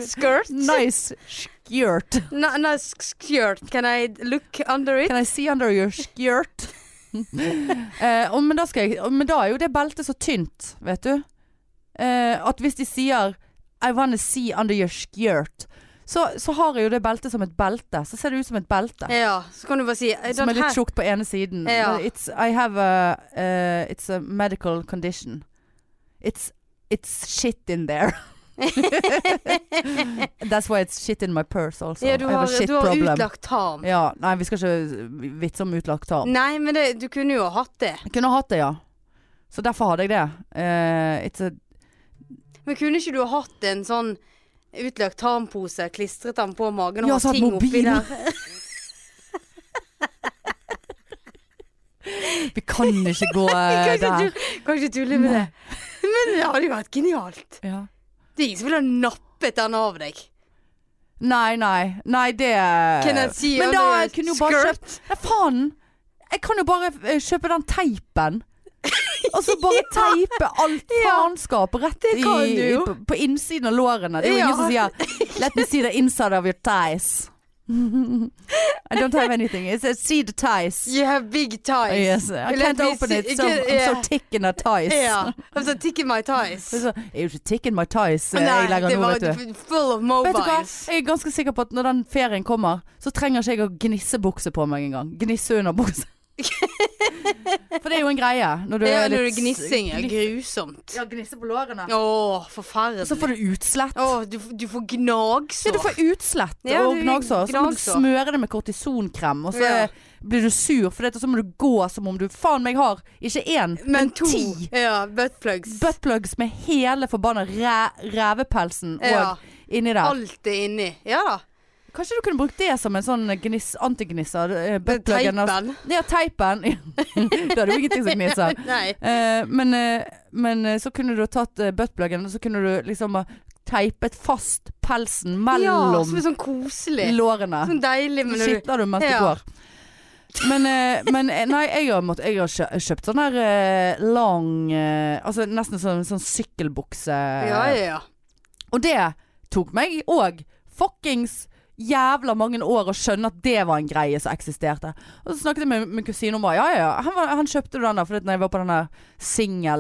S2: Skirt.
S1: Nice skirt.
S2: N- nice skirt. Can I look under it?
S1: Can I see under your skirt? eh, og, men, da skal jeg, og, men da er jo det beltet så tynt, vet du. Eh, at hvis de sier I wanna see under your skirt, så, så har jeg jo det beltet som et belte. Så ser det ut som et belte.
S2: Ja, så kan du bare si I
S1: Som
S2: don't
S1: er litt
S2: have
S1: tjukt på ene siden.
S2: Eh, Ja.
S1: It's, I have a, eh, it's a medical condition. It's, it's shit in there. That's why it's shit in my purse also.
S2: ja, du
S1: I altså. have
S2: har,
S1: a shit
S2: du har
S1: problem.
S2: utlagt tarm.
S1: Ja, nei, vi skal ikke vitse om utlagt tarm.
S2: Nei, men det, du kunne jo hatt det.
S1: Jeg kunne hatt det, ja. Så derfor hadde jeg det. Eh, it's a,
S2: Men kunne ikke du hatt en sånn utlagt tarmpose, klistret den på magen
S1: Ja,
S2: og
S1: så hatt
S2: hatt ting oppi
S1: mobil.
S2: der?
S1: vi kan ikke gå eh, der. Mm.
S2: Kan ikke du- kan ikke tulle med det. Men det hadde jo vært genialt.
S1: Ja.
S2: Det er ingen som ville ha nappet den av deg.
S1: Nei, nei. Nei, det
S2: Can I see
S1: Men
S2: under
S1: da
S2: your
S1: kunne jo bare
S2: skirt?
S1: kjøpt Nei, faen! Jeg kan jo bare eh, kjøpe den teipen. Og så bare teipe alt faenskap rett i,
S2: kan du
S1: i,
S2: jo.
S1: på, på innsiden av lårene. Det er jo
S2: Ja.
S1: ingen som sier 'let me see the inside of your thighs'. I don't have anything. It's a seed ties.
S2: You have big ties.
S1: Yes, I
S2: Let
S1: can't
S2: me
S1: open
S2: see-
S1: it. So,
S2: Ikke-
S1: I'm
S2: ja.
S1: so thick in the ties.
S2: Ja. I'm so thick in my ties.
S1: Det er så- Jeg er jo ikke thick in my ties eh,
S2: Nei,
S1: jeg legger
S2: det
S1: nå,
S2: var
S1: vet du.
S2: full of
S1: Vet du hva?
S2: mobiles.
S1: Jeg er ganske sikker på at når den ferien kommer, så trenger ikke jeg å gnisse bukse på meg engang. Gnisse under bukse. For det er jo en greie. Når du
S2: Det
S1: er
S2: er når
S1: litt-
S2: du gnissing er
S1: gniss-
S2: grusomt.
S1: Ja, gnisse på lårene.
S2: Å, forferdelig.
S1: Så får du utslett.
S2: Å, du, du får gnagsår.
S1: Ja, du får utslett
S2: Ja,
S1: og
S2: du-
S1: gnagsår. Så må du
S2: gnagsår.
S1: smøre det med kortisonkrem, og så
S2: Ja.
S1: blir du sur, for det, og så må du gå som om du faen meg har ikke én, men,
S2: Men to.
S1: ti
S2: Ja, buttplugs.
S1: buttplugs med hele forbanna ræ revepelsen og
S2: Ja.
S1: inni der.
S2: Alt er inni. Ja da.
S1: Kanskje du kunne brukt det som en sånn gniss, antignisser? eh, buttpluggen, altså.
S2: Teipen.
S1: Ja, teipen. da er det jo ingenting som gnisser.
S2: Nei.
S1: Eh, men, eh, men eh, så kunne du ha tatt eh, buttpluggen, og så kunne du liksom ha teipet fast pelsen
S2: Ja,
S1: mellom
S2: som er sånn koselig.
S1: lårene.
S2: Sånn deilig.
S1: Så
S2: Men når du
S1: skitner du mens
S2: Ja.
S1: du går. Men, eh, men eh, nei, jeg har, mått, jeg har kjø- kjøpt sånn her eh, lang eh, Altså nesten sånn, sånn sykkelbukse.
S2: Ja, ja, ja.
S1: Og det tok meg òg fuckings jævla mange år å skjønne at det var en greie som eksisterte. Og så snakket jeg med min kusine om bare, ja, ja, ja, han, var, han kjøpte den der, for når jeg var på den der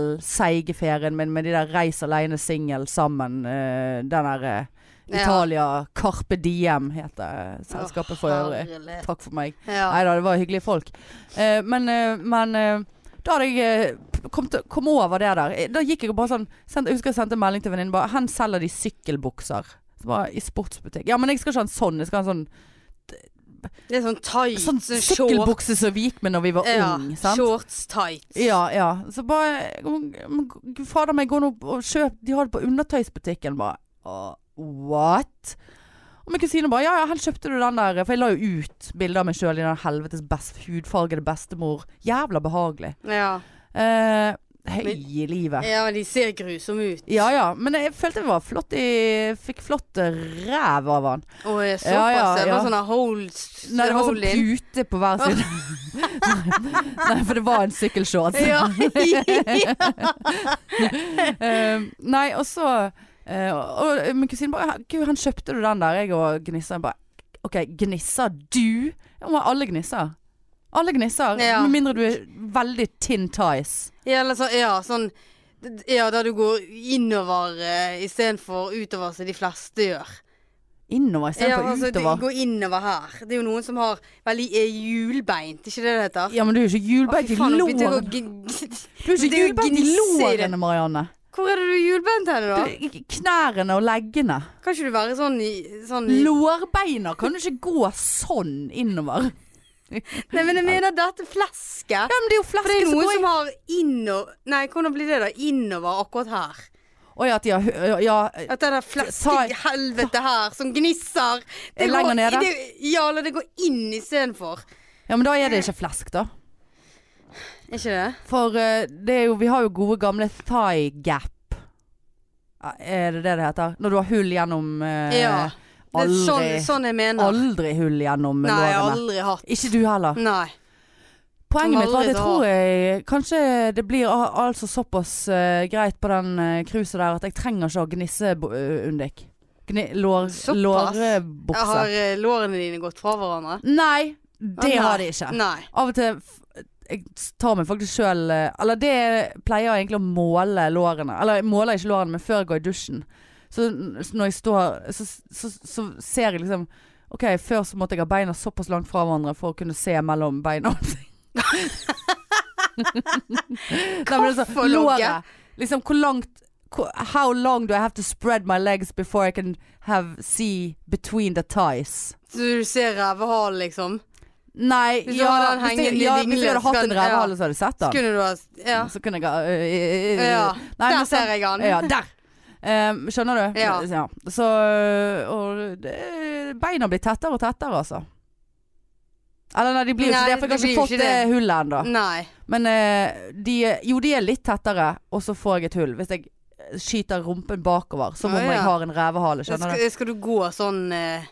S1: singel-seigeferien min med de der reis alene singel sammen, eh, den der eh,
S2: Ja.
S1: Italia Carpe Diem heter eh, selskapet for øvrig.
S2: Herlighet.
S1: Takk for meg.
S2: Ja.
S1: Nei da, det var hyggelige folk. Eh, men eh, men eh, da hadde jeg eh, kom, til, kom over det der. Eh, Da gikk jeg og bare sånn sendte, Jeg husker jeg sendte en melding til venninnen bare 'Hen selger de sykkelbukser?' Så bare, I sportsbutikk. Ja, men jeg skal ikke ha en sånn. Jeg skal ha en sånn,
S2: Det er sånn tight.
S1: sånn
S2: short-
S1: sykkelbukse som vi gikk med når vi var
S2: Ja,
S1: unge. Sant?
S2: Shorts tight.
S1: Ja, ja. Så bare men g- Fader meg, gå nå og kjøp De har det på undertøysbutikken, bare. «Åh, what? Og min kusine bare Ja, ja, her kjøpte du den der. For jeg la jo ut bilder av meg sjøl i den helvetes best, hudfargede bestemor. Jævla behagelig.
S2: Ja.
S1: Eh, Høy
S2: Men-
S1: i livet.
S2: ja, men de ser grusomme ut.
S1: Ja ja, men jeg følte jeg var flott i Fikk flott ræv av han.
S2: Og jeg såpass.
S1: Ja, ja,
S2: Det
S1: ja.
S2: var sånne holes
S1: Nei, det var sånn
S2: hole in.
S1: pute på hver side. Nei, for det var en sykkelshorts.
S2: Ja.
S1: Eh, nei, og så eh, og, og min kusine bare Gud, han kjøpte du den der? Jeg og Gnissa bare OK, gnisser du? Ja, men alle gnisser. Alle gnisser.
S2: Ja.
S1: Med mindre du er veldig tin ties.
S2: ja, eller så, ja, sånn Ja, der du går innover uh, istedenfor utover, som de fleste gjør.
S1: Innover
S2: Ja,
S1: istedenfor
S2: altså, de
S1: utover.
S2: går innover her. Det er jo noen som har veldig eh, hjulbeint, ikke det det heter?
S1: Ja, men du er jo ikke
S2: Å,
S1: hjulbeint
S2: fy
S1: i
S2: faen, nå begynte jeg å
S1: lårene.
S2: gn-
S1: Du er jo ikke
S2: det er jo
S1: hjulbeint i
S2: gnisse i det.
S1: lårene, Marianne.
S2: Hvor er det du er hjulbeint hen, da?
S1: Du- i- Knærne og leggene.
S2: Kan ikke du være sånn i sånn i
S1: Lårbeina kan du ikke gå sånn innover.
S2: Nei, men jeg mener dette flesket.
S1: Ja, men det er jo
S2: For det
S1: flaske
S2: er
S1: som
S2: noen
S1: går i
S2: som har innover Nei, hvordan blir det da? Innover akkurat her.
S1: Å ja, at de har hø- ja,
S2: At det der fleskehelvetet her som gnisser det
S1: Lenger
S2: går-
S1: nede?
S2: det- Ja, eller det går inn istedenfor.
S1: ja, men da er det ikke flesk, da.
S2: Er ikke det?
S1: For eh, det er jo, vi har jo gode gamle thigh gap. Ja, Er det det det heter? Når du har hull gjennom eh,
S2: Ja. Det er
S1: Aldri,
S2: sånn, sånn jeg mener.
S1: aldri hull gjennom
S2: Nei, jeg har
S1: lårene.
S2: aldri hatt.
S1: Ikke du heller.
S2: Nei.
S1: Poenget mitt var at jeg
S2: Aldri da.
S1: tror jeg Kanskje det blir al- altså såpass eh, greit på den eh, cruiset der at jeg trenger ikke å gnisse bo- eh, undik. Gni, lår,
S2: Såpass. Jeg
S1: lårbukse.
S2: har eh, lårene dine gått fra hverandre?
S1: Nei, det
S2: Å, nei.
S1: har de ikke.
S2: Nei.
S1: Av og til f- jeg tar meg faktisk sjøl Eller det pleier jeg egentlig å måle lårene. Eller jeg måler ikke lårene, men før jeg går i dusjen. Så n- så når jeg står Så, så, så ser jeg liksom OK, før så måtte jeg ha beina såpass langt fra hverandre for å kunne se mellom beina. Nei, men det er sånn,
S2: Hvorfor, Logge?
S1: låret. Liksom hvor langt hvor- How long do I have to spread my legs before I can have see between the ties?
S2: Så du ser rævehalen, liksom?
S1: Nei,
S2: Hvis du
S1: ja,
S2: hadde den
S1: hvis, jeg,
S2: hengende i
S1: ja, hvis jeg
S2: dinglen,
S1: hadde
S2: så
S1: hatt
S2: kan-
S1: en rævhale, så hadde du sett den.
S2: Skulle du ha Ja.
S1: Så kunne jeg ha øh, øh, øh,
S2: ja.
S1: Nei,
S2: Der
S1: men så-
S2: ser jeg han.
S1: Ja, der! Ehm, skjønner du?
S2: Ja.
S1: Så øh, Og det, beina blir tettere og tettere, altså. Eller nei, de blir jo ikke
S2: Nei,
S1: det, for jeg har
S2: det
S1: ikke
S2: blir
S1: fått
S2: jo
S1: det
S2: ikke det. Mm.
S1: hullet ennå.
S2: Nei.
S1: Men øh, de Jo, de er litt tettere, og så får jeg et hull. Hvis jeg øh, skyter rumpen bakover, som
S2: Ja,
S1: om jeg
S2: ja.
S1: har en rævehale. Skjønner du?
S2: Skal, skal du gå sånn eh,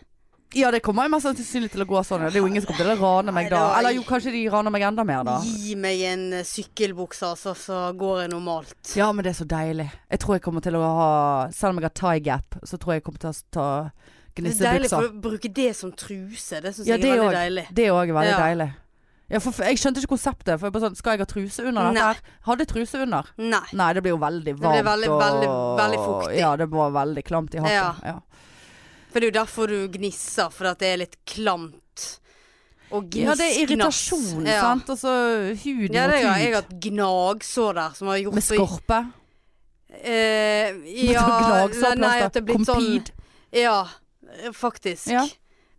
S1: Ja, det kommer jo mest sannsynlig til å gå sånn. ja. Det er jo ingen som kommer til å rane meg
S2: Nei,
S1: da.
S2: det var-
S1: Eller jo, kanskje de raner meg enda mer da.
S2: Gi meg en eh, sykkelbukse, altså, så går jeg normalt.
S1: Ja, men det er så deilig. Jeg tror jeg kommer til å ha Selv om jeg har tie gap, så tror jeg jeg kommer til å ta
S2: Det er deilig
S1: gnissebukser.
S2: for å bruke det som truse. Det syns
S1: Ja,
S2: jeg
S1: det
S2: er veldig
S1: også.
S2: deilig.
S1: Det òg er veldig
S2: Ja.
S1: deilig. Ja, for, for jeg skjønte ikke konseptet. For jeg bare sånn, Skal jeg ha truse under dette?
S2: Nei.
S1: her? Hadde truse under.
S2: Nei.
S1: Nei, det blir jo veldig blir varmt.
S2: veldig,
S1: og...
S2: veldig, veldig fuktig.
S1: Ja, det var veldig klamt i hatten. Ja.
S2: For det er jo derfor du gnisser, for at det er litt klamt. Og gniss,
S1: Ja, det er irritasjon,
S2: ja.
S1: sant. Altså hud
S2: Ja, det har jeg
S1: mot hud.
S2: hatt gnagsår der som har gjort
S1: Med skorpe.
S2: Eh, ja,
S1: Gnagsorplaster.
S2: nei, at det er blitt sånn
S1: Compede.
S2: Ja, faktisk.
S1: Ja.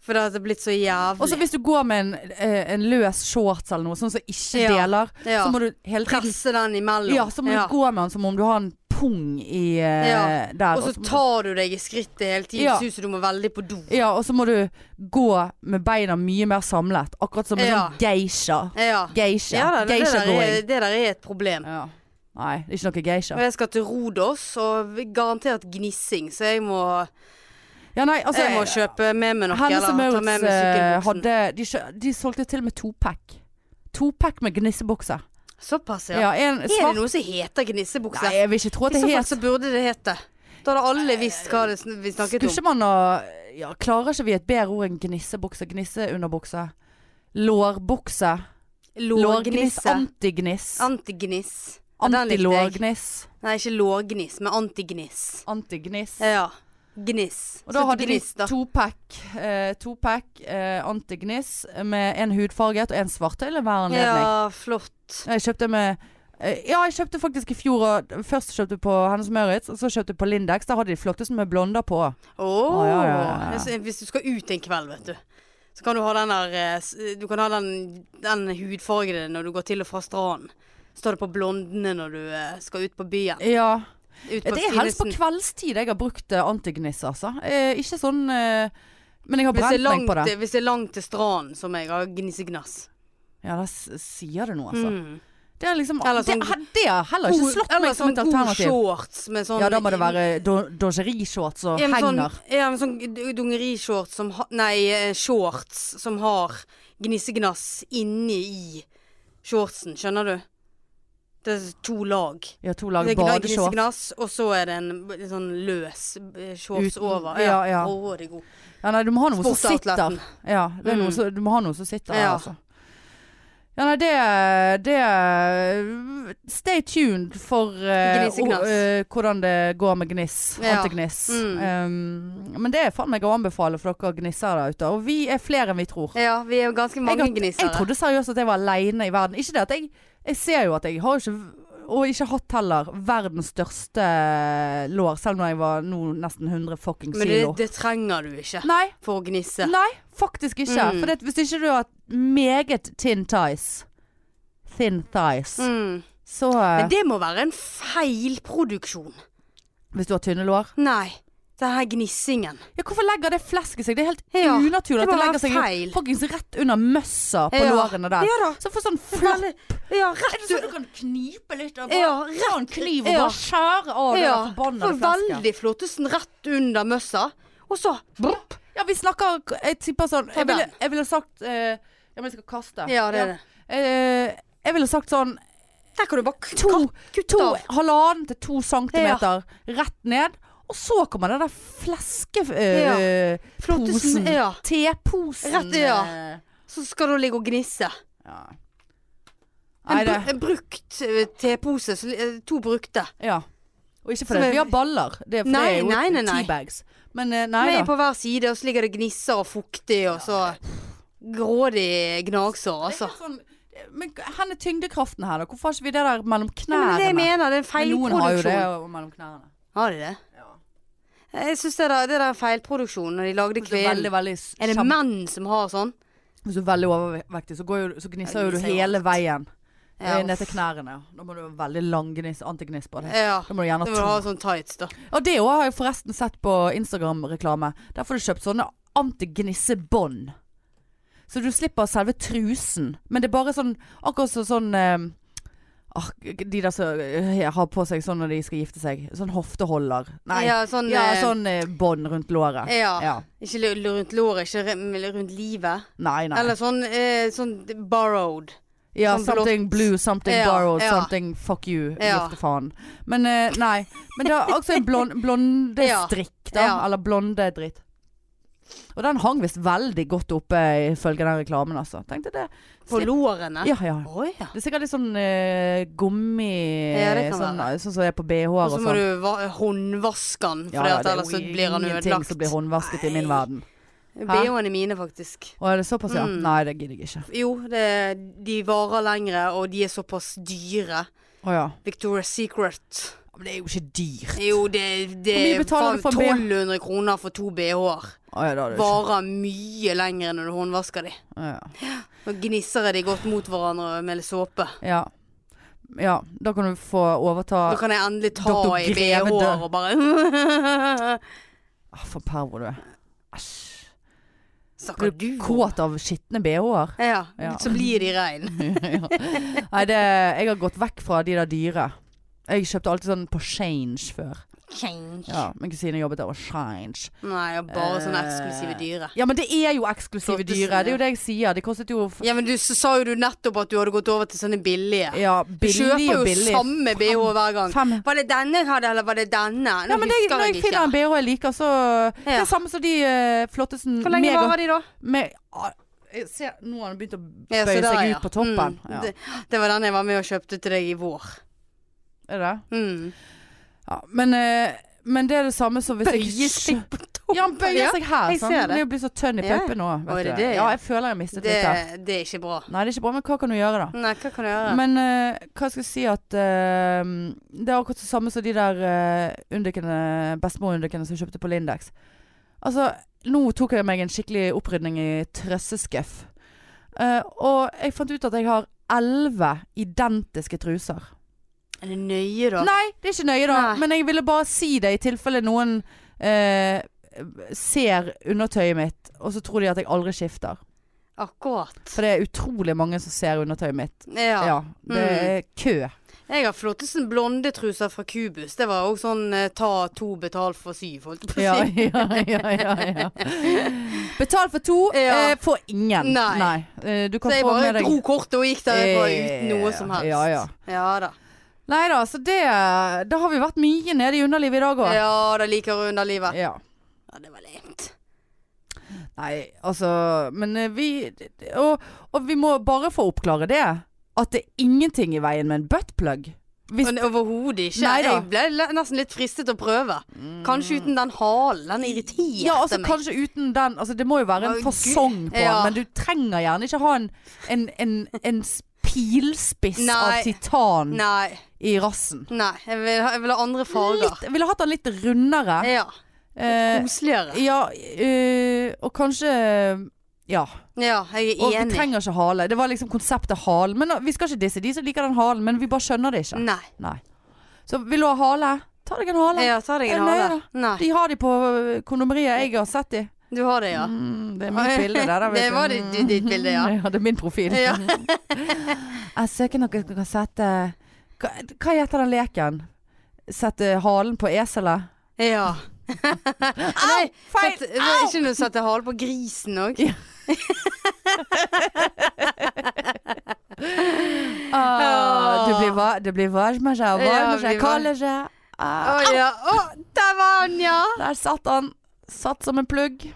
S2: For det har blitt så
S1: Og så
S2: jævlig.
S1: hvis du går med en, eh, en løs shorts eller noe sånn som ikke
S2: Ja.
S1: deler,
S2: Ja.
S1: så må du hele tiden
S2: Presse den imellom.
S1: Ja, så må du gå med den som om du har en pung i eh,
S2: Ja.
S1: der.
S2: Og så
S1: må-
S2: tar du deg i skrittet hele tiden.
S1: Ja.
S2: Det Ser ut som du må veldig på do.
S1: ja, og så må du gå med beina mye mer samlet. Akkurat som en
S2: Ja.
S1: sånn geisha.
S2: Ja.
S1: Geisha.
S2: Ja, da, det, det,
S1: geisha
S2: der eh, er,
S1: going.
S2: det der er et problem.
S1: Ja. Nei, det er ikke noe
S2: Og
S1: geisha.
S2: jeg skal til Rodos, og garantert gnissing, så jeg må,
S1: Ja, nei, altså
S2: jeg må kjøpe med meg noe.
S1: Hennes og
S2: eller ta med
S1: Maurits
S2: meg
S1: eh,
S2: sykkelbuksen.
S1: hadde de, kjø- de solgte til og med topack. Topack med gnissebukse.
S2: Såpass, ja.
S1: Ja, en
S2: Er det
S1: svart
S2: noe som heter gnissebukse?
S1: Nei, jeg vil ikke tro at
S2: I
S1: det
S2: så fall
S1: het
S2: så burde det hete. Da hadde alle visst hva det sn- vi snakket
S1: Skulle
S2: om.
S1: ikke man å ja, Klarer ikke vi et bedre ord enn gnissebukse? Gnisseunderbukse? Lårbukse? Lårgniss?
S2: Lårgnisse.
S1: Antigniss?
S2: Antigniss. Ja, den likte jeg.
S1: Antilårgniss?
S2: Nei, ikke lårgniss, men antigniss.
S1: Antigniss?
S2: Ja. Gniss.
S1: Og da
S2: Så
S1: hadde de
S2: gniss, Eh, da.
S1: topack, eh, topack eh, antigniss med en hudfarget og en svart til hver anledning.
S2: Ja, flott.
S1: Jeg kjøpte med eh, ja, jeg kjøpte faktisk i fjor og Først kjøpte jeg på Hennes Møritz, og så kjøpte jeg på Lindex. Der hadde de flotteste med blonder på.
S2: Åh
S1: Å, ja, ja, ja, ja.
S2: Hvis- Hvis du skal ut en kveld, vet du. Så kan du ha den der eh, s- Du kan ha den, den hudfargede når du går til og fra stranden. Står det på blondene når du eh, skal ut på byen.
S1: Ja.
S2: Ut på
S1: Eh, Det er helst på
S2: finesen.
S1: kveldstid jeg har brukt eh, antigniss, altså. Eh, ikke sånn eh, Men jeg har
S2: hvis det,
S1: brent
S2: er
S1: meg
S2: langt,
S1: på det.
S2: hvis det er langt til stranden, som jeg har gnissegnass.
S1: Ja, da s- sier du noe, altså.
S2: Mm.
S1: Det er liksom
S2: Eller sånn-
S1: det, har- det har heller ikke slått
S2: Eller
S1: meg som
S2: sånn
S1: et
S2: god
S1: alternativ.
S2: Shorts med sånn
S1: Ja, da må det være dogerishorts og
S2: Ja, men sånn,
S1: henger.
S2: ja, men sånn d- dungerishorts som ha, Nei, eh, shorts som har gnissegnass inni i shortsen, skjønner du? Det er to lag.
S1: Ja, to
S2: Det
S1: lag
S2: er gna-
S1: badeshorts.
S2: gnissegnass, og så er det en b- sånn løs eh, shorts
S1: Uten-
S2: over.
S1: ja,
S2: Ja,
S1: ja.
S2: Å, det er god.
S1: Ja, nei, du må ha noe som sitter.
S2: Sportsoutlaten.
S1: Ja, det er noe
S2: Mm.
S1: som, du må ha noe som sitter der,
S2: Ja.
S1: altså. Ja, nei, det, det Stay tuned for eh,
S2: Gnissegness.
S1: o- eh, hvordan det går med gniss.
S2: Ja.
S1: Antigniss.
S2: Mm.
S1: Um, men det er faen meg å anbefale for dere gnissere der ute. Og vi er flere enn vi tror.
S2: Ja, vi er jo ganske mange
S1: jeg, har- jeg
S2: gnissere.
S1: trodde seriøst at jeg var aleine i verden. Ikke det at jeg Jeg ser jo at jeg har jo ikke og ikke hatt heller verdens største eh, lår, selv om jeg var nå nesten 100 fucking
S2: Men det,
S1: kilo.
S2: det trenger du ikke
S1: Nei,
S2: for å gnisse.
S1: Nei, faktisk ikke.
S2: Mm.
S1: For det, hvis ikke du har meget thin thighs Thin thighs.
S2: Mm.
S1: Så eh,
S2: Men det må være en feilproduksjon.
S1: Hvis du har tynne lår
S2: Nei. Den her gnissingen.
S1: Ja, hvorfor legger det flesket seg? Det er helt
S2: Ja,
S1: unaturlig at
S2: det
S1: det
S2: må
S1: legger
S2: være
S1: seg
S2: feil.
S1: fuckings rett under møssa på
S2: Ja.
S1: lårene der.
S2: Ja da.
S1: Så får sånn flapp
S2: Ja,
S1: Er
S2: rett
S1: det sånn du kan knipe litt og bare
S2: Ja,
S1: ta en kniv og
S2: ja.
S1: bare skjære av det der forbannede
S2: for
S1: flesket?
S2: veldig flottesten sånn rett under møssa, og så Blup.
S1: Ja, vi snakker Jeg tipper sånn
S2: Ta
S1: Jeg ville,
S2: den.
S1: jeg ville sagt eh, Ja, men jeg skal kaste.
S2: Ja, det er det.
S1: Eh, jeg ville sagt sånn
S2: Der kan du bare k-
S1: to,
S2: kutt
S1: to
S2: av.
S1: halvannen til to centimeter rett ned. Og så kommer den der fleskeposen.
S2: Flottesten, sånn- ja.
S1: Teposen.
S2: Rett, ja.
S1: eh,
S2: Så skal du ligge og gnisse.
S1: ja.
S2: En,
S1: Nei, det
S2: bru- en brukt eh, tepose. så li- eh, To brukte.
S1: Ja. Og ikke
S2: Som
S1: fordi
S2: er-
S1: vi har baller. Det er, for
S2: Nei,
S1: det er jo
S2: nei, nei, nei.
S1: teabags. Men eh, nei
S2: Med
S1: da.
S2: på hver side, og så ligger det gnisser og fuktig, og så Grådig gnagsår,
S1: Det er
S2: altså.
S1: helt sånn, men hvor er tyngdekraften her, da? Hvorfor har ikke vi det der mellom
S2: Ja, men det er det jeg
S1: knærne?
S2: mener, det er en
S1: Men noen har jo det
S2: feilproduksjon.
S1: og mellom knærne.
S2: Har de det?
S1: Ja.
S2: Jeg syns det, der- det der er feilproduksjon når de lagde
S1: Hvis du er veldig,
S2: kvelen.
S1: veldig,
S2: Er det
S1: kjem-
S2: menn som har sånn?
S1: Hvis du er veldig overvektig, så, går jo, så gnisser
S2: Ja,
S1: jo du
S2: gnisser jo
S1: hele veien.
S2: Ja,
S1: Eh, Ned til knærne. ja. Da må du ha veldig lang gniss, antigniss på det.
S2: Ja.
S1: Da må du gjerne
S2: Da må du
S1: ha
S2: ha sånn tights, da.
S1: to. Og det òg har jeg forresten sett på Instagram-reklame. Der får du kjøpt sånne antignissebånd. Så du slipper selve trusen. Men det er bare sånn Akkurat så, sånn eh, ah, De der som eh, har på seg sånn når de skal gifte seg. Sånn hofteholder. Nei. Ja,
S2: Ja, sånn, eh,
S1: sånn eh, bånd rundt låret.
S2: Ja.
S1: Ja.
S2: Ikke l- l- rundt låret, ikke re- men rundt livet.
S1: Nei, nei.
S2: Eller sånn, eh, sånn borrowed.
S1: Ja,
S2: Sånn
S1: something blue, something
S2: Ja,
S1: borrowed,
S2: ja.
S1: something fuck you.
S2: Ja.
S1: Gifte faen. Men eh, nei. Men det er altså en blond, blondestrikk, da.
S2: Ja.
S1: Eller blondedritt. Og den hang visst veldig godt oppe ifølge den reklamen, altså. Tenkte det.
S2: På lårene?
S1: Ja, ja.
S2: Å ja.
S1: Det er sikkert litt sånn eh, gummi
S2: Ja, det kan
S1: sånn,
S2: være.
S1: sånn som er på BH-er
S2: Og
S1: og
S2: så
S1: sånn.
S2: må du va- håndvaske den, for
S1: ja,
S2: at
S1: det er
S2: ellers så
S1: jo
S2: blir han
S1: Ingenting
S2: ødelagt.
S1: som blir håndvasket i min verden. Hæ?
S2: BH-ene mine, faktisk.
S1: Og er det såpass, ja?
S2: Mm.
S1: Nei, det gidder jeg ikke.
S2: Jo, det, de varer lengre, og de er såpass dyre.
S1: Å ja.
S2: Victoria's Secret.
S1: Men det er jo ikke dyrt.
S2: Jo, det, det
S1: Hvor mye betaler du for en BH?
S2: 1200 kroner for to BH-er.
S1: Å ja, da er det ikke.
S2: Varer mye lenger når du håndvasker de.
S1: Å, ja.
S2: Nå gnisser jeg de godt mot hverandre med litt såpe.
S1: Ja. ja. Da kan du få overta
S2: Da kan jeg endelig ta
S1: Dr.
S2: i
S1: Greve
S2: BH-er og bare
S1: ah, For pervo du er. Æsj. Blir
S2: Snakker du
S1: du
S2: om?
S1: kåt av skitne bh-er?
S2: Ja,
S1: Ja.
S2: så blir de rein.
S1: ja. Nei, det Jeg har gått vekk fra de der dyre. Jeg kjøpte alltid sånn på Change før. Ja, Min kusine jobbet der, og Change.
S2: Nei, og bare sånne eksklusive
S1: Eh,
S2: dyre.
S1: Ja, men det er jo eksklusive
S2: Flotte
S1: dyre.
S2: sånne.
S1: Det er jo det jeg sier. De kostet jo f-
S2: Ja, men du så sa jo du nettopp at du hadde gått over til sånne billige.
S1: ja,
S2: Du
S1: billig
S2: kjøper jo
S1: og billig.
S2: samme BH hver gang.
S1: Fem
S2: Var det denne jeg hadde, eller var det denne? Nå
S1: Ja, men det,
S2: husker
S1: når jeg
S2: jeg
S1: finner
S2: ikke.
S1: en BH jeg liker, så Det
S2: Ja.
S1: er samme som de uh, flottesen
S2: Hvor lenge
S1: mega-
S2: varer de, da?
S1: med, ah, jeg ser, Nå har han begynt å bøye
S2: Ja, så der,
S1: seg
S2: ja.
S1: ut på toppen.
S2: Mm,
S1: Ja.
S2: Det, det var den jeg var med og kjøpte til deg i vår.
S1: Er det?
S2: Mm.
S1: Ja, men, eh, men det er det samme som hvis
S2: Bøye
S1: jeg
S2: seg
S1: på toppen? Ja, han bøyer seg her.
S2: jeg
S1: Sånn.
S2: ser det.
S1: Han er jo blitt så tønn i
S2: Ja.
S1: puppen nå.
S2: Å, er
S1: Vet
S2: det
S1: du.
S2: det, ja?
S1: Ja, jeg føler jeg har mistet
S2: Det,
S1: litt der.
S2: det er ikke bra.
S1: Nei, det er ikke bra, men hva kan du gjøre, da?
S2: Nei, hva kan du gjøre?
S1: Men eh, hva skal jeg si at eh, Det er akkurat det samme som de der uh, undikkene, bestemorundikkene som jeg kjøpte på Lindex. Altså, nå tok jeg meg en skikkelig opprydning i trøsseskuff. Eh, og jeg fant ut at jeg har elleve identiske truser.
S2: er det nøye, da?
S1: Nei, det er ikke nøye, da.
S2: Nei.
S1: Men jeg ville bare si det i tilfelle noen eh, ser undertøyet mitt, og så tror de at jeg aldri skifter.
S2: Akkurat.
S1: For det er utrolig mange som ser undertøyet mitt. Ja.
S2: Ja. Mm.
S1: det er kø.
S2: Jeg har flottesten blondetruser fra Cubus. Det var også sånn eh, ta to, betal for syv, holdt jeg på å
S1: Ja,
S2: si.
S1: ja, ja, ja, ja. Betal for to,
S2: Ja.
S1: eh, få ingen.
S2: Nei.
S1: Eh, Du kan
S2: Så jeg
S1: få
S2: bare
S1: med deg
S2: dro kortet og gikk derfra
S1: Eh,
S2: uten noe som helst.
S1: ja, ja.
S2: Ja da.
S1: Nei da, så det eh, Da har vi vært mye nede i underlivet i dag òg.
S2: Ja da, liker underlivet.
S1: Ja.
S2: Ja, det var lent.
S1: Nei, altså Men eh, vi og, og vi må bare få oppklare det. At det er ingenting i veien med en buttplug. Hvis
S2: Men Overhodet ikke.
S1: Nei da. Mm.
S2: jeg ble le- nesten litt fristet til å prøve. Kanskje uten den halen. Den irriterte
S1: ja, altså
S2: meg.
S1: kanskje uten den altså, Det må jo være
S2: Å, Gud.
S1: en fasong på
S2: Ja.
S1: den, men du trenger gjerne ikke ha en, en, en, en pilspiss
S2: Nei.
S1: av titan
S2: Nei.
S1: i rassen.
S2: nei jeg, vil ha, jeg vil ha andre farger.
S1: Litt, jeg ville hatt den litt rundere.
S2: Ja.
S1: Eh,
S2: Koseligere.
S1: ja, eh, og kanskje Ja.
S2: Ja, jeg
S1: Og
S2: er
S1: vi
S2: enig.
S1: trenger ikke hale. Det var liksom konseptet halen. Men Vi skal ikke disse de som liker den halen, men vi bare skjønner det ikke.
S2: Nei.
S1: Nei. Så vil du ha hale? Ta deg en hale.
S2: Ja, ta deg
S1: Er
S2: en
S1: det
S2: hale.
S1: nøye,
S2: Nei.
S1: De har de på ø, kondomeriet. Jeg har sett de.
S2: Du har det, ja.
S1: Mm, det er mitt bilde der. da, vet
S2: Det
S1: du.
S2: var ditt- ditt- ditt bilde, ja.
S1: ja. Det er min profil.
S2: Ja.
S1: Jeg søker noe som kan sette eh, Hva hva heter den leken? Sette halen på eselet?
S2: ja. Nei,
S1: feil.
S2: sett- det var ikke noe å sette hale på grisen òg.
S1: Ja. Ah, det blir, va det blir varmere, varmere,
S2: blir var-
S1: kaldere. Ah,
S2: Å ja. Å, der var han, ja!
S1: der satt han. Satt som en plugg.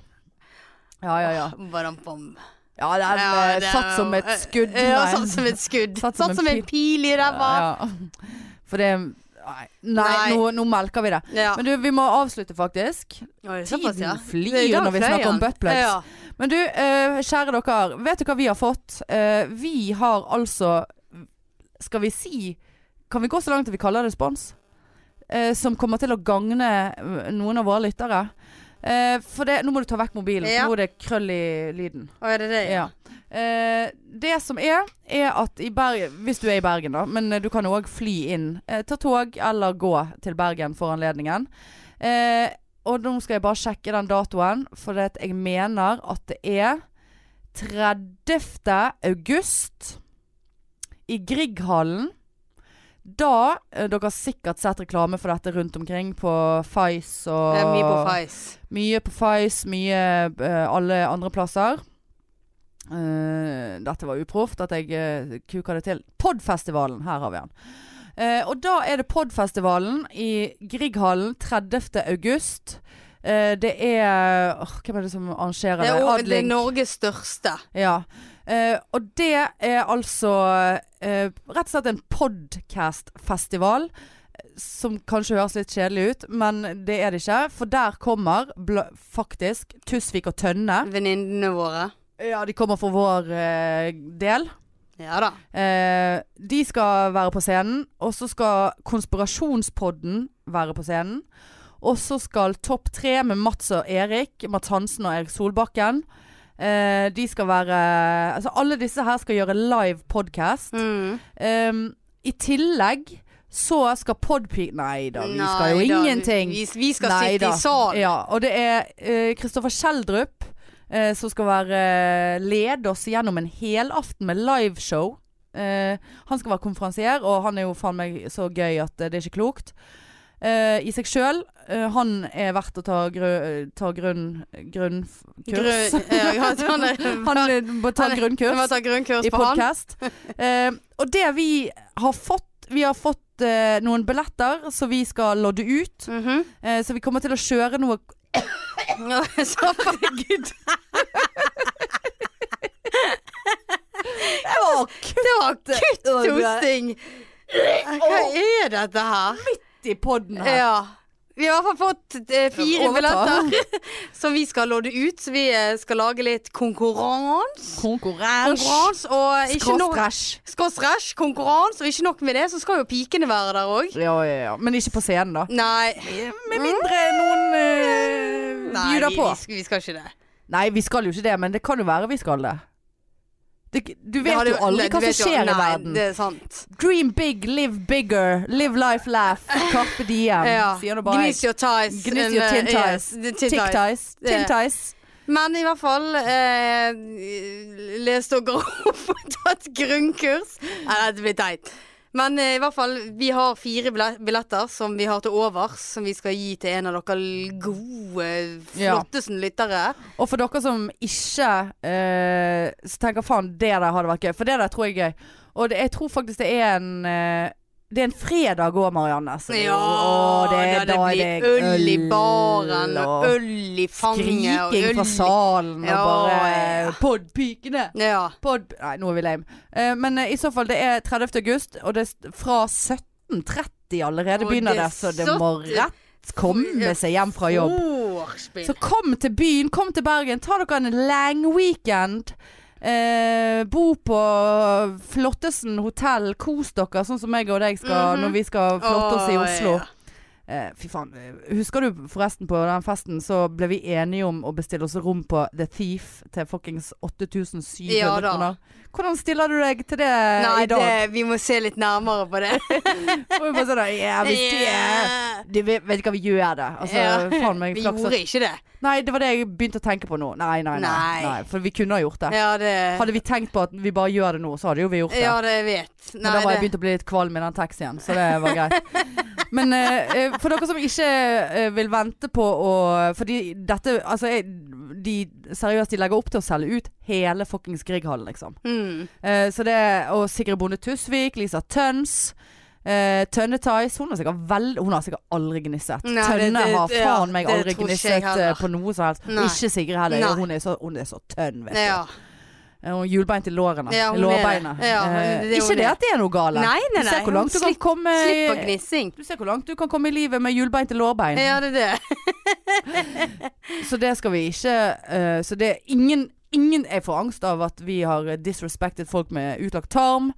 S1: Ja, ja, ja.
S2: Badampam.
S1: Ja, det er,
S2: Ja,
S1: eh,
S2: det er-
S1: satt som et skudd.
S2: Ja,
S1: nei.
S2: satt som et skudd.
S1: Satt
S2: Satt
S1: som
S2: som,
S1: en
S2: en pil i ræva.
S1: Ja. For det Nei, nei,
S2: Nei.
S1: Nå, nå melker vi det.
S2: Ja.
S1: Men du, vi må avslutte faktisk.
S2: Oi,
S1: Tiden
S2: såpass, ja.
S1: flyr
S2: Det er i dag
S1: når vi
S2: fløy
S1: snakker om
S2: han.
S1: buttplugs.
S2: Ja.
S1: Men du, eh, kjære dere. Vet du hva vi har fått? Eh, vi har altså Skal vi si Kan vi gå så langt at vi kaller det spons? Eh, som kommer til å gagne eh, noen av våre lyttere. Eh, for det, nå må du ta vekk mobilen,
S2: Ja.
S1: for nå er det krøll i lyden.
S2: Å, er det det?
S1: Ja. Eh, det som er, er at i Bergen Hvis du er i Bergen, da, men eh, du kan òg fly inn. Eh, ta tog eller gå til Bergen for anledningen. Eh, og nå skal jeg bare sjekke den datoen, for det at jeg mener at det er 30. august i Grieghallen. Da eh, Dere har sikkert sett reklame for dette rundt omkring på Fice og
S2: Det er mye på Fice.
S1: mye på Fice, mye eh, alle andre plasser. Eh, dette var uproft at jeg eh, kuka det til. Podfestivalen, her har vi den. Eh, og da er det Podfestivalen i Grieghallen 30. august. Eh, det er åh, Hvem er det som arrangerer
S2: Det
S1: det?
S2: er, jo- det er
S1: Adling.
S2: Norges største.
S1: Ja. Eh, og det er altså eh, rett og slett en podcast-festival. eh, Som kanskje høres litt kjedelig ut, men det er det ikke. For der kommer bla faktisk Tusvik og Tønne.
S2: Venninnene våre.
S1: Ja, de kommer for vår eh, del.
S2: Ja da.
S1: Eh, de skal være på scenen, og så skal Konspirasjonspodden være på scenen. Og så skal Topp tre med Mats og Erik, Mats Hansen og Erik Solbakken. Eh, de skal være Altså alle disse her skal gjøre live podcast.
S2: Mm.
S1: Ehm, I tillegg så skal Podpeak Nei da, vi skal jo
S2: Nei da,
S1: ingenting.
S2: Vi, vi skal
S1: Nei
S2: sitte
S1: da.
S2: i salen.
S1: Ja, og det er Kristoffer Schjelderup eh, som skal være eh, lede oss gjennom en helaften med liveshow. Eh, han skal være konferansier, og han er jo faen meg så gøy at eh, det er ikke klokt. Eh, I seg sjøl. Eh, han er verdt å ta, grø ta grunn... grunnkurs.
S2: Grø- ja, ja, han er-
S1: han eh, må ta
S2: han er- Vi må
S1: grunnkurs
S2: ta grunnkurs
S1: i
S2: på han.
S1: podkast. Eh, og det vi har fått Vi har fått eh, noen billetter som vi skal lodde ut.
S2: Mhm.
S1: Eh, så vi kommer til å kjøre noe
S2: Ja, så Herregud.
S1: Det var
S2: Det var
S1: kutt
S2: kutthosting. Hva er dette her?
S1: i podden her.
S2: Ja. Vi har i hvert fall fått eh, fire
S1: Overta.
S2: billetter som vi skal lodde ut. Så vi eh, skal lage litt konkurranse.
S1: Konkurranse.
S2: Konkurranse og ikke nok
S1: Skråstræsj.
S2: Skråstrasj, konkurranse, og ikke nok med det, så skal jo pikene være der òg.
S1: Ja, ja, ja. Men ikke på scenen, da. Mm.
S2: Nei.
S1: Med mindre noen eh,
S2: Nei,
S1: bjuder
S2: vi,
S1: på.
S2: vi, skal- vi skal ikke det.
S1: Nei, vi skal jo ikke det, men det kan jo være vi skal det. det du
S2: Det
S1: vet
S2: hadde-
S1: jo aldri
S2: Nei,
S1: hva
S2: du
S1: som
S2: vet jo-
S1: skjer i
S2: nei,
S1: verden.
S2: Det er sant.
S1: Dream big, live bigger. Live life, laugh. Carpe diem.
S2: Ja.
S1: Sier nå bare
S2: Gnis
S1: jeg.
S2: your ties.
S1: Gnis your
S2: and,
S1: tin
S2: uh,
S1: ties.
S2: yes, the tin ties.
S1: Tick-ties.
S2: Det-
S1: Tin-ties.
S2: Men i hvert fall eh, Les dere opp og ta et grunnkurs. Nei, dette blir teit. Men eh, i hvert fall, vi har fire bille- billetter som vi har til overs, som vi skal gi til en av dere gode,
S1: Ja.
S2: flotteste lyttere.
S1: Og for dere som ikke eh, så tenker faen, det der hadde vært gøy. For det der tror jeg er gøy. Og det, jeg tror faktisk det er en eh, Det er en fredag òg, Marianne. Så det, er jo-
S2: Ja,
S1: å, det, er-
S2: da
S1: da
S2: det
S1: er det
S2: blir øl i baren, og
S1: og
S2: øl i fanget, og
S1: skriking fra salen og
S2: Ja,
S1: bare
S2: ja.
S1: Podpikene!
S2: Ja.
S1: Pod... Nei, nå er vi lame. Eh, men eh, i så fall, det er 30. august, og det er s- fra 17.30 allerede
S2: Og
S1: begynner
S2: det
S1: det,
S2: er
S1: så det må
S2: 70
S1: rett komme seg hjem fra jobb.
S2: Vorspiel.
S1: Så kom til byen, kom til Bergen. Ta dere en lang weekend. Eh, bo på Flottesen hotell. Kos dere, sånn som jeg og deg skal
S2: Mhm.
S1: når vi skal flotte oss i
S2: Å,
S1: Oslo.
S2: ja.
S1: Eh, fy faen. eh, Husker du forresten på den festen så ble vi enige om å bestille oss rom på The Thief til fuckings 8700
S2: Ja da.
S1: kroner? Hvordan stiller du deg til det
S2: Nei,
S1: i dag?
S2: det, vi må se litt nærmere på det.
S1: Og vi bare sånn, der, ja, hvis det er du vet, vet ikke hva vi gjør det. Altså,
S2: Ja.
S1: faen meg,
S2: Vi
S1: flaks at
S2: gjorde ikke det.
S1: Nei, det var det jeg begynte å tenke på nå. Nei, nei, nei.
S2: Nei.
S1: nei for vi kunne ha gjort det.
S2: Ja, det
S1: Hadde vi tenkt på at vi bare gjør det nå, så hadde jo vi gjort det.
S2: Ja, det jeg vet.
S1: Men da var jeg begynt å bli litt kvalm i den taxien, så det var greit. Men eh, eh, for dere som ikke eh, vil vente på å Fordi dette Altså, jeg, de seriøst, de legger opp til å selge ut hele fuckings Grieghallen, liksom.
S2: Mm.
S1: Eh, så det Og Sigrid Bonde Tusvik, Lisa Tøns. Uh, Tønne Theis hun, har sikkert vel- hun har sikkert aldri gnisset.
S2: Nei, det-
S1: Tønne
S2: det-
S1: har
S2: ja,
S1: faen meg
S2: det
S1: aldri
S2: tror ikke jeg
S1: gnisset eh,
S2: heller.
S1: på noe som helst.
S2: Nei.
S1: Ikke Sigrid heller.
S2: Nei.
S1: og Hun, er så, hun er så tønn, vet du.
S2: Ja.
S1: Eh, Og hjulbeint i lårene.
S2: Ja,
S1: I
S2: hun er
S1: lårbeinet.
S2: det. Ja, hun-
S1: Eh,
S2: det er
S1: ikke
S2: hun
S1: det
S2: er.
S1: at det er noe gale.
S2: Nei, nei,
S1: du
S2: nei.
S1: ser hvor langt du kan
S2: Slipp-
S1: komme
S2: Slipper
S1: i,
S2: gnissing.
S1: du ser hvor langt du kan komme i livet med hjulbeinte lårbein.
S2: Ja, det er det.
S1: Så det skal vi ikke eh, Så det er ingen Ingen jeg får angst av at vi har eh, disrespected folk med utlagt tarm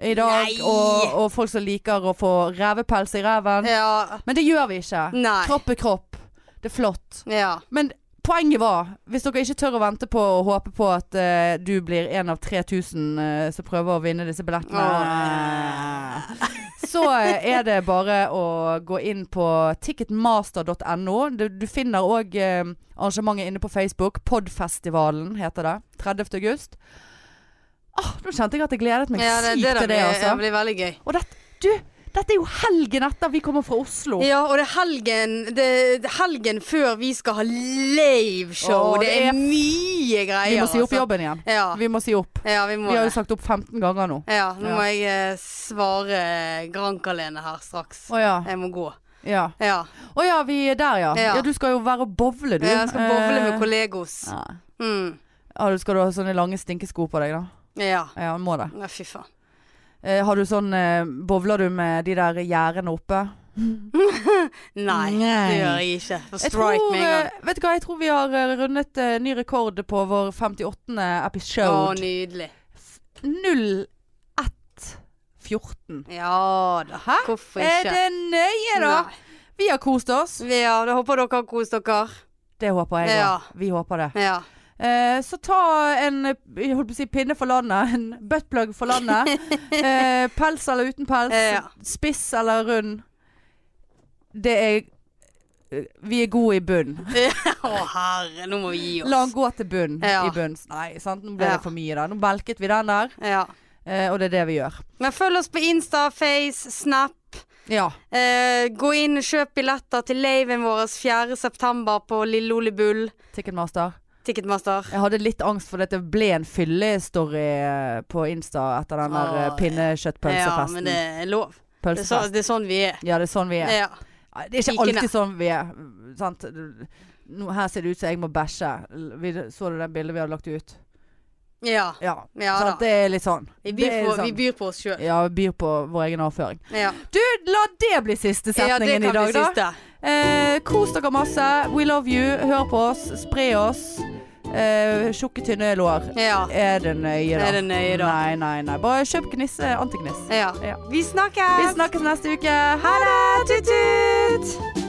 S1: i dag.
S2: Nei.
S1: Og, og folk som liker å få revepels i reven.
S2: Ja.
S1: Men det gjør vi ikke.
S2: Nei.
S1: Kropp er kropp. Det er flott.
S2: Ja.
S1: Men poenget var, hvis dere ikke tør å vente på og håpe på at eh, du blir en av 3000 eh, som prøver å vinne disse billettene, så eh, er det bare å gå inn på ticketmaster.no. Du, du finner òg arrangementet inne på Facebook. Podfestivalen heter det. 30. august. Ah, nå kjente jeg at jeg gledet meg
S2: ja
S1: sykt til
S2: der
S1: det,
S2: blir,
S1: altså.
S2: det blir veldig gøy.
S1: Og dette, du, dette er jo helgen etter vi kommer fra Oslo.
S2: Ja, og det er helgen det, det er helgen før vi skal ha liveshow.
S1: Å,
S2: det,
S1: det er-
S2: er mye greier.
S1: vi må si opp
S2: altså.
S1: jobben igjen.
S2: Ja.
S1: Vi må si opp.
S2: ja, vi må
S1: Vi har jo
S2: det.
S1: sagt opp 15 ganger nå.
S2: Ja, nå
S1: Ja.
S2: må jeg eh, svare Grankalene her straks.
S1: Å ja.
S2: Jeg må gå.
S1: Ja.
S2: Ja.
S1: Å ja, vi er der, ja. ja.
S2: Ja.
S1: Du skal jo være og bowle, du.
S2: Jeg skal bowle med
S1: Eh,
S2: kollegos.
S1: ja.
S2: Mm.
S1: Ja, du skal du ha sånne lange stinkesko på deg, da?
S2: Ja.
S1: Ja, må det.
S2: Nei, fy faen.
S1: Eh, har du sånn eh, Bowler du med de der gjerdene oppe?
S2: Nei,
S1: Nei.
S2: det gjør jeg ikke. For
S1: Jeg
S2: strike
S1: tror,
S2: med en gang.
S1: eh, vet du hva, jeg tror vi har eh, rundet eh, ny rekord på vår 58.
S2: Å,
S1: episode.
S2: nydelig.
S1: 0114.
S2: Ja da.
S1: Hæ?
S2: Hvorfor
S1: Er
S2: ikke?
S1: det nøye, da?
S2: Nei.
S1: Vi har kost oss.
S2: Ja, da håper dere har kost dere.
S1: Det håper jeg òg.
S2: Ja.
S1: Vi håper det.
S2: Ja.
S1: Eh, så ta en eh, jeg holdt på å si, pinne for landet, en buttplug for landet. eh, pels eller uten pels.
S2: Ja.
S1: Spiss eller rund. Det er eh, Vi er gode i bunn.
S2: Å herre, nå må vi gi oss.
S1: La den gå til bunn
S2: Ja.
S1: i bunns. Nei, sant? nå ble
S2: Ja.
S1: det for mye der. Nå belket vi den der,
S2: Ja.
S1: eh, og det er det vi gjør.
S2: Men følg oss på Insta, Face, Snap.
S1: Ja.
S2: Eh, gå inn og kjøp billetter til laven vår 4.9. på Lille Ole Bull.
S1: Ticketmaster.
S2: Ticketmaster.
S1: Jeg hadde litt angst for at det ble en fyllestory eh, på Insta etter den der
S2: Åh,
S1: eh,
S2: Ja,
S1: pinnekjøttpølsefesten.
S2: men det er lov. Det er, så,
S1: Pølsefest.
S2: det er sånn vi er.
S1: Ja, det er sånn vi er.
S2: Ja.
S1: Nei, Det er ikke
S2: Pikene.
S1: alltid sånn vi er. Sant? Nå, her ser det ut som jeg må bæsje. Vi, så du det bildet vi hadde lagt ut?
S2: Ja.
S1: Ja.
S2: ja
S1: sant?
S2: da.
S1: Det er litt sånn.
S2: Vi
S1: Det
S2: byr,
S1: er
S2: på,
S1: sånn.
S2: vi byr på oss sjøl.
S1: Ja, vi byr på vår egen avføring.
S2: Ja.
S1: Du, la det bli siste
S2: ja, det
S1: setningen
S2: kan
S1: i dag,
S2: bli
S1: da.
S2: siste.
S1: Eh, kos dere masse. We love you. Hør på oss. Spre oss. Eh, Tjukke, tynne lår.
S2: Ja.
S1: Er det nøye, da?
S2: Er det nøye, da?
S1: Nei, nei, nei. Bare kjøp gnisse, antigniss.
S2: ja.
S1: Ja.
S2: Vi snakkes!
S1: Vi snakkes neste uke. Ha det! Tut-tut!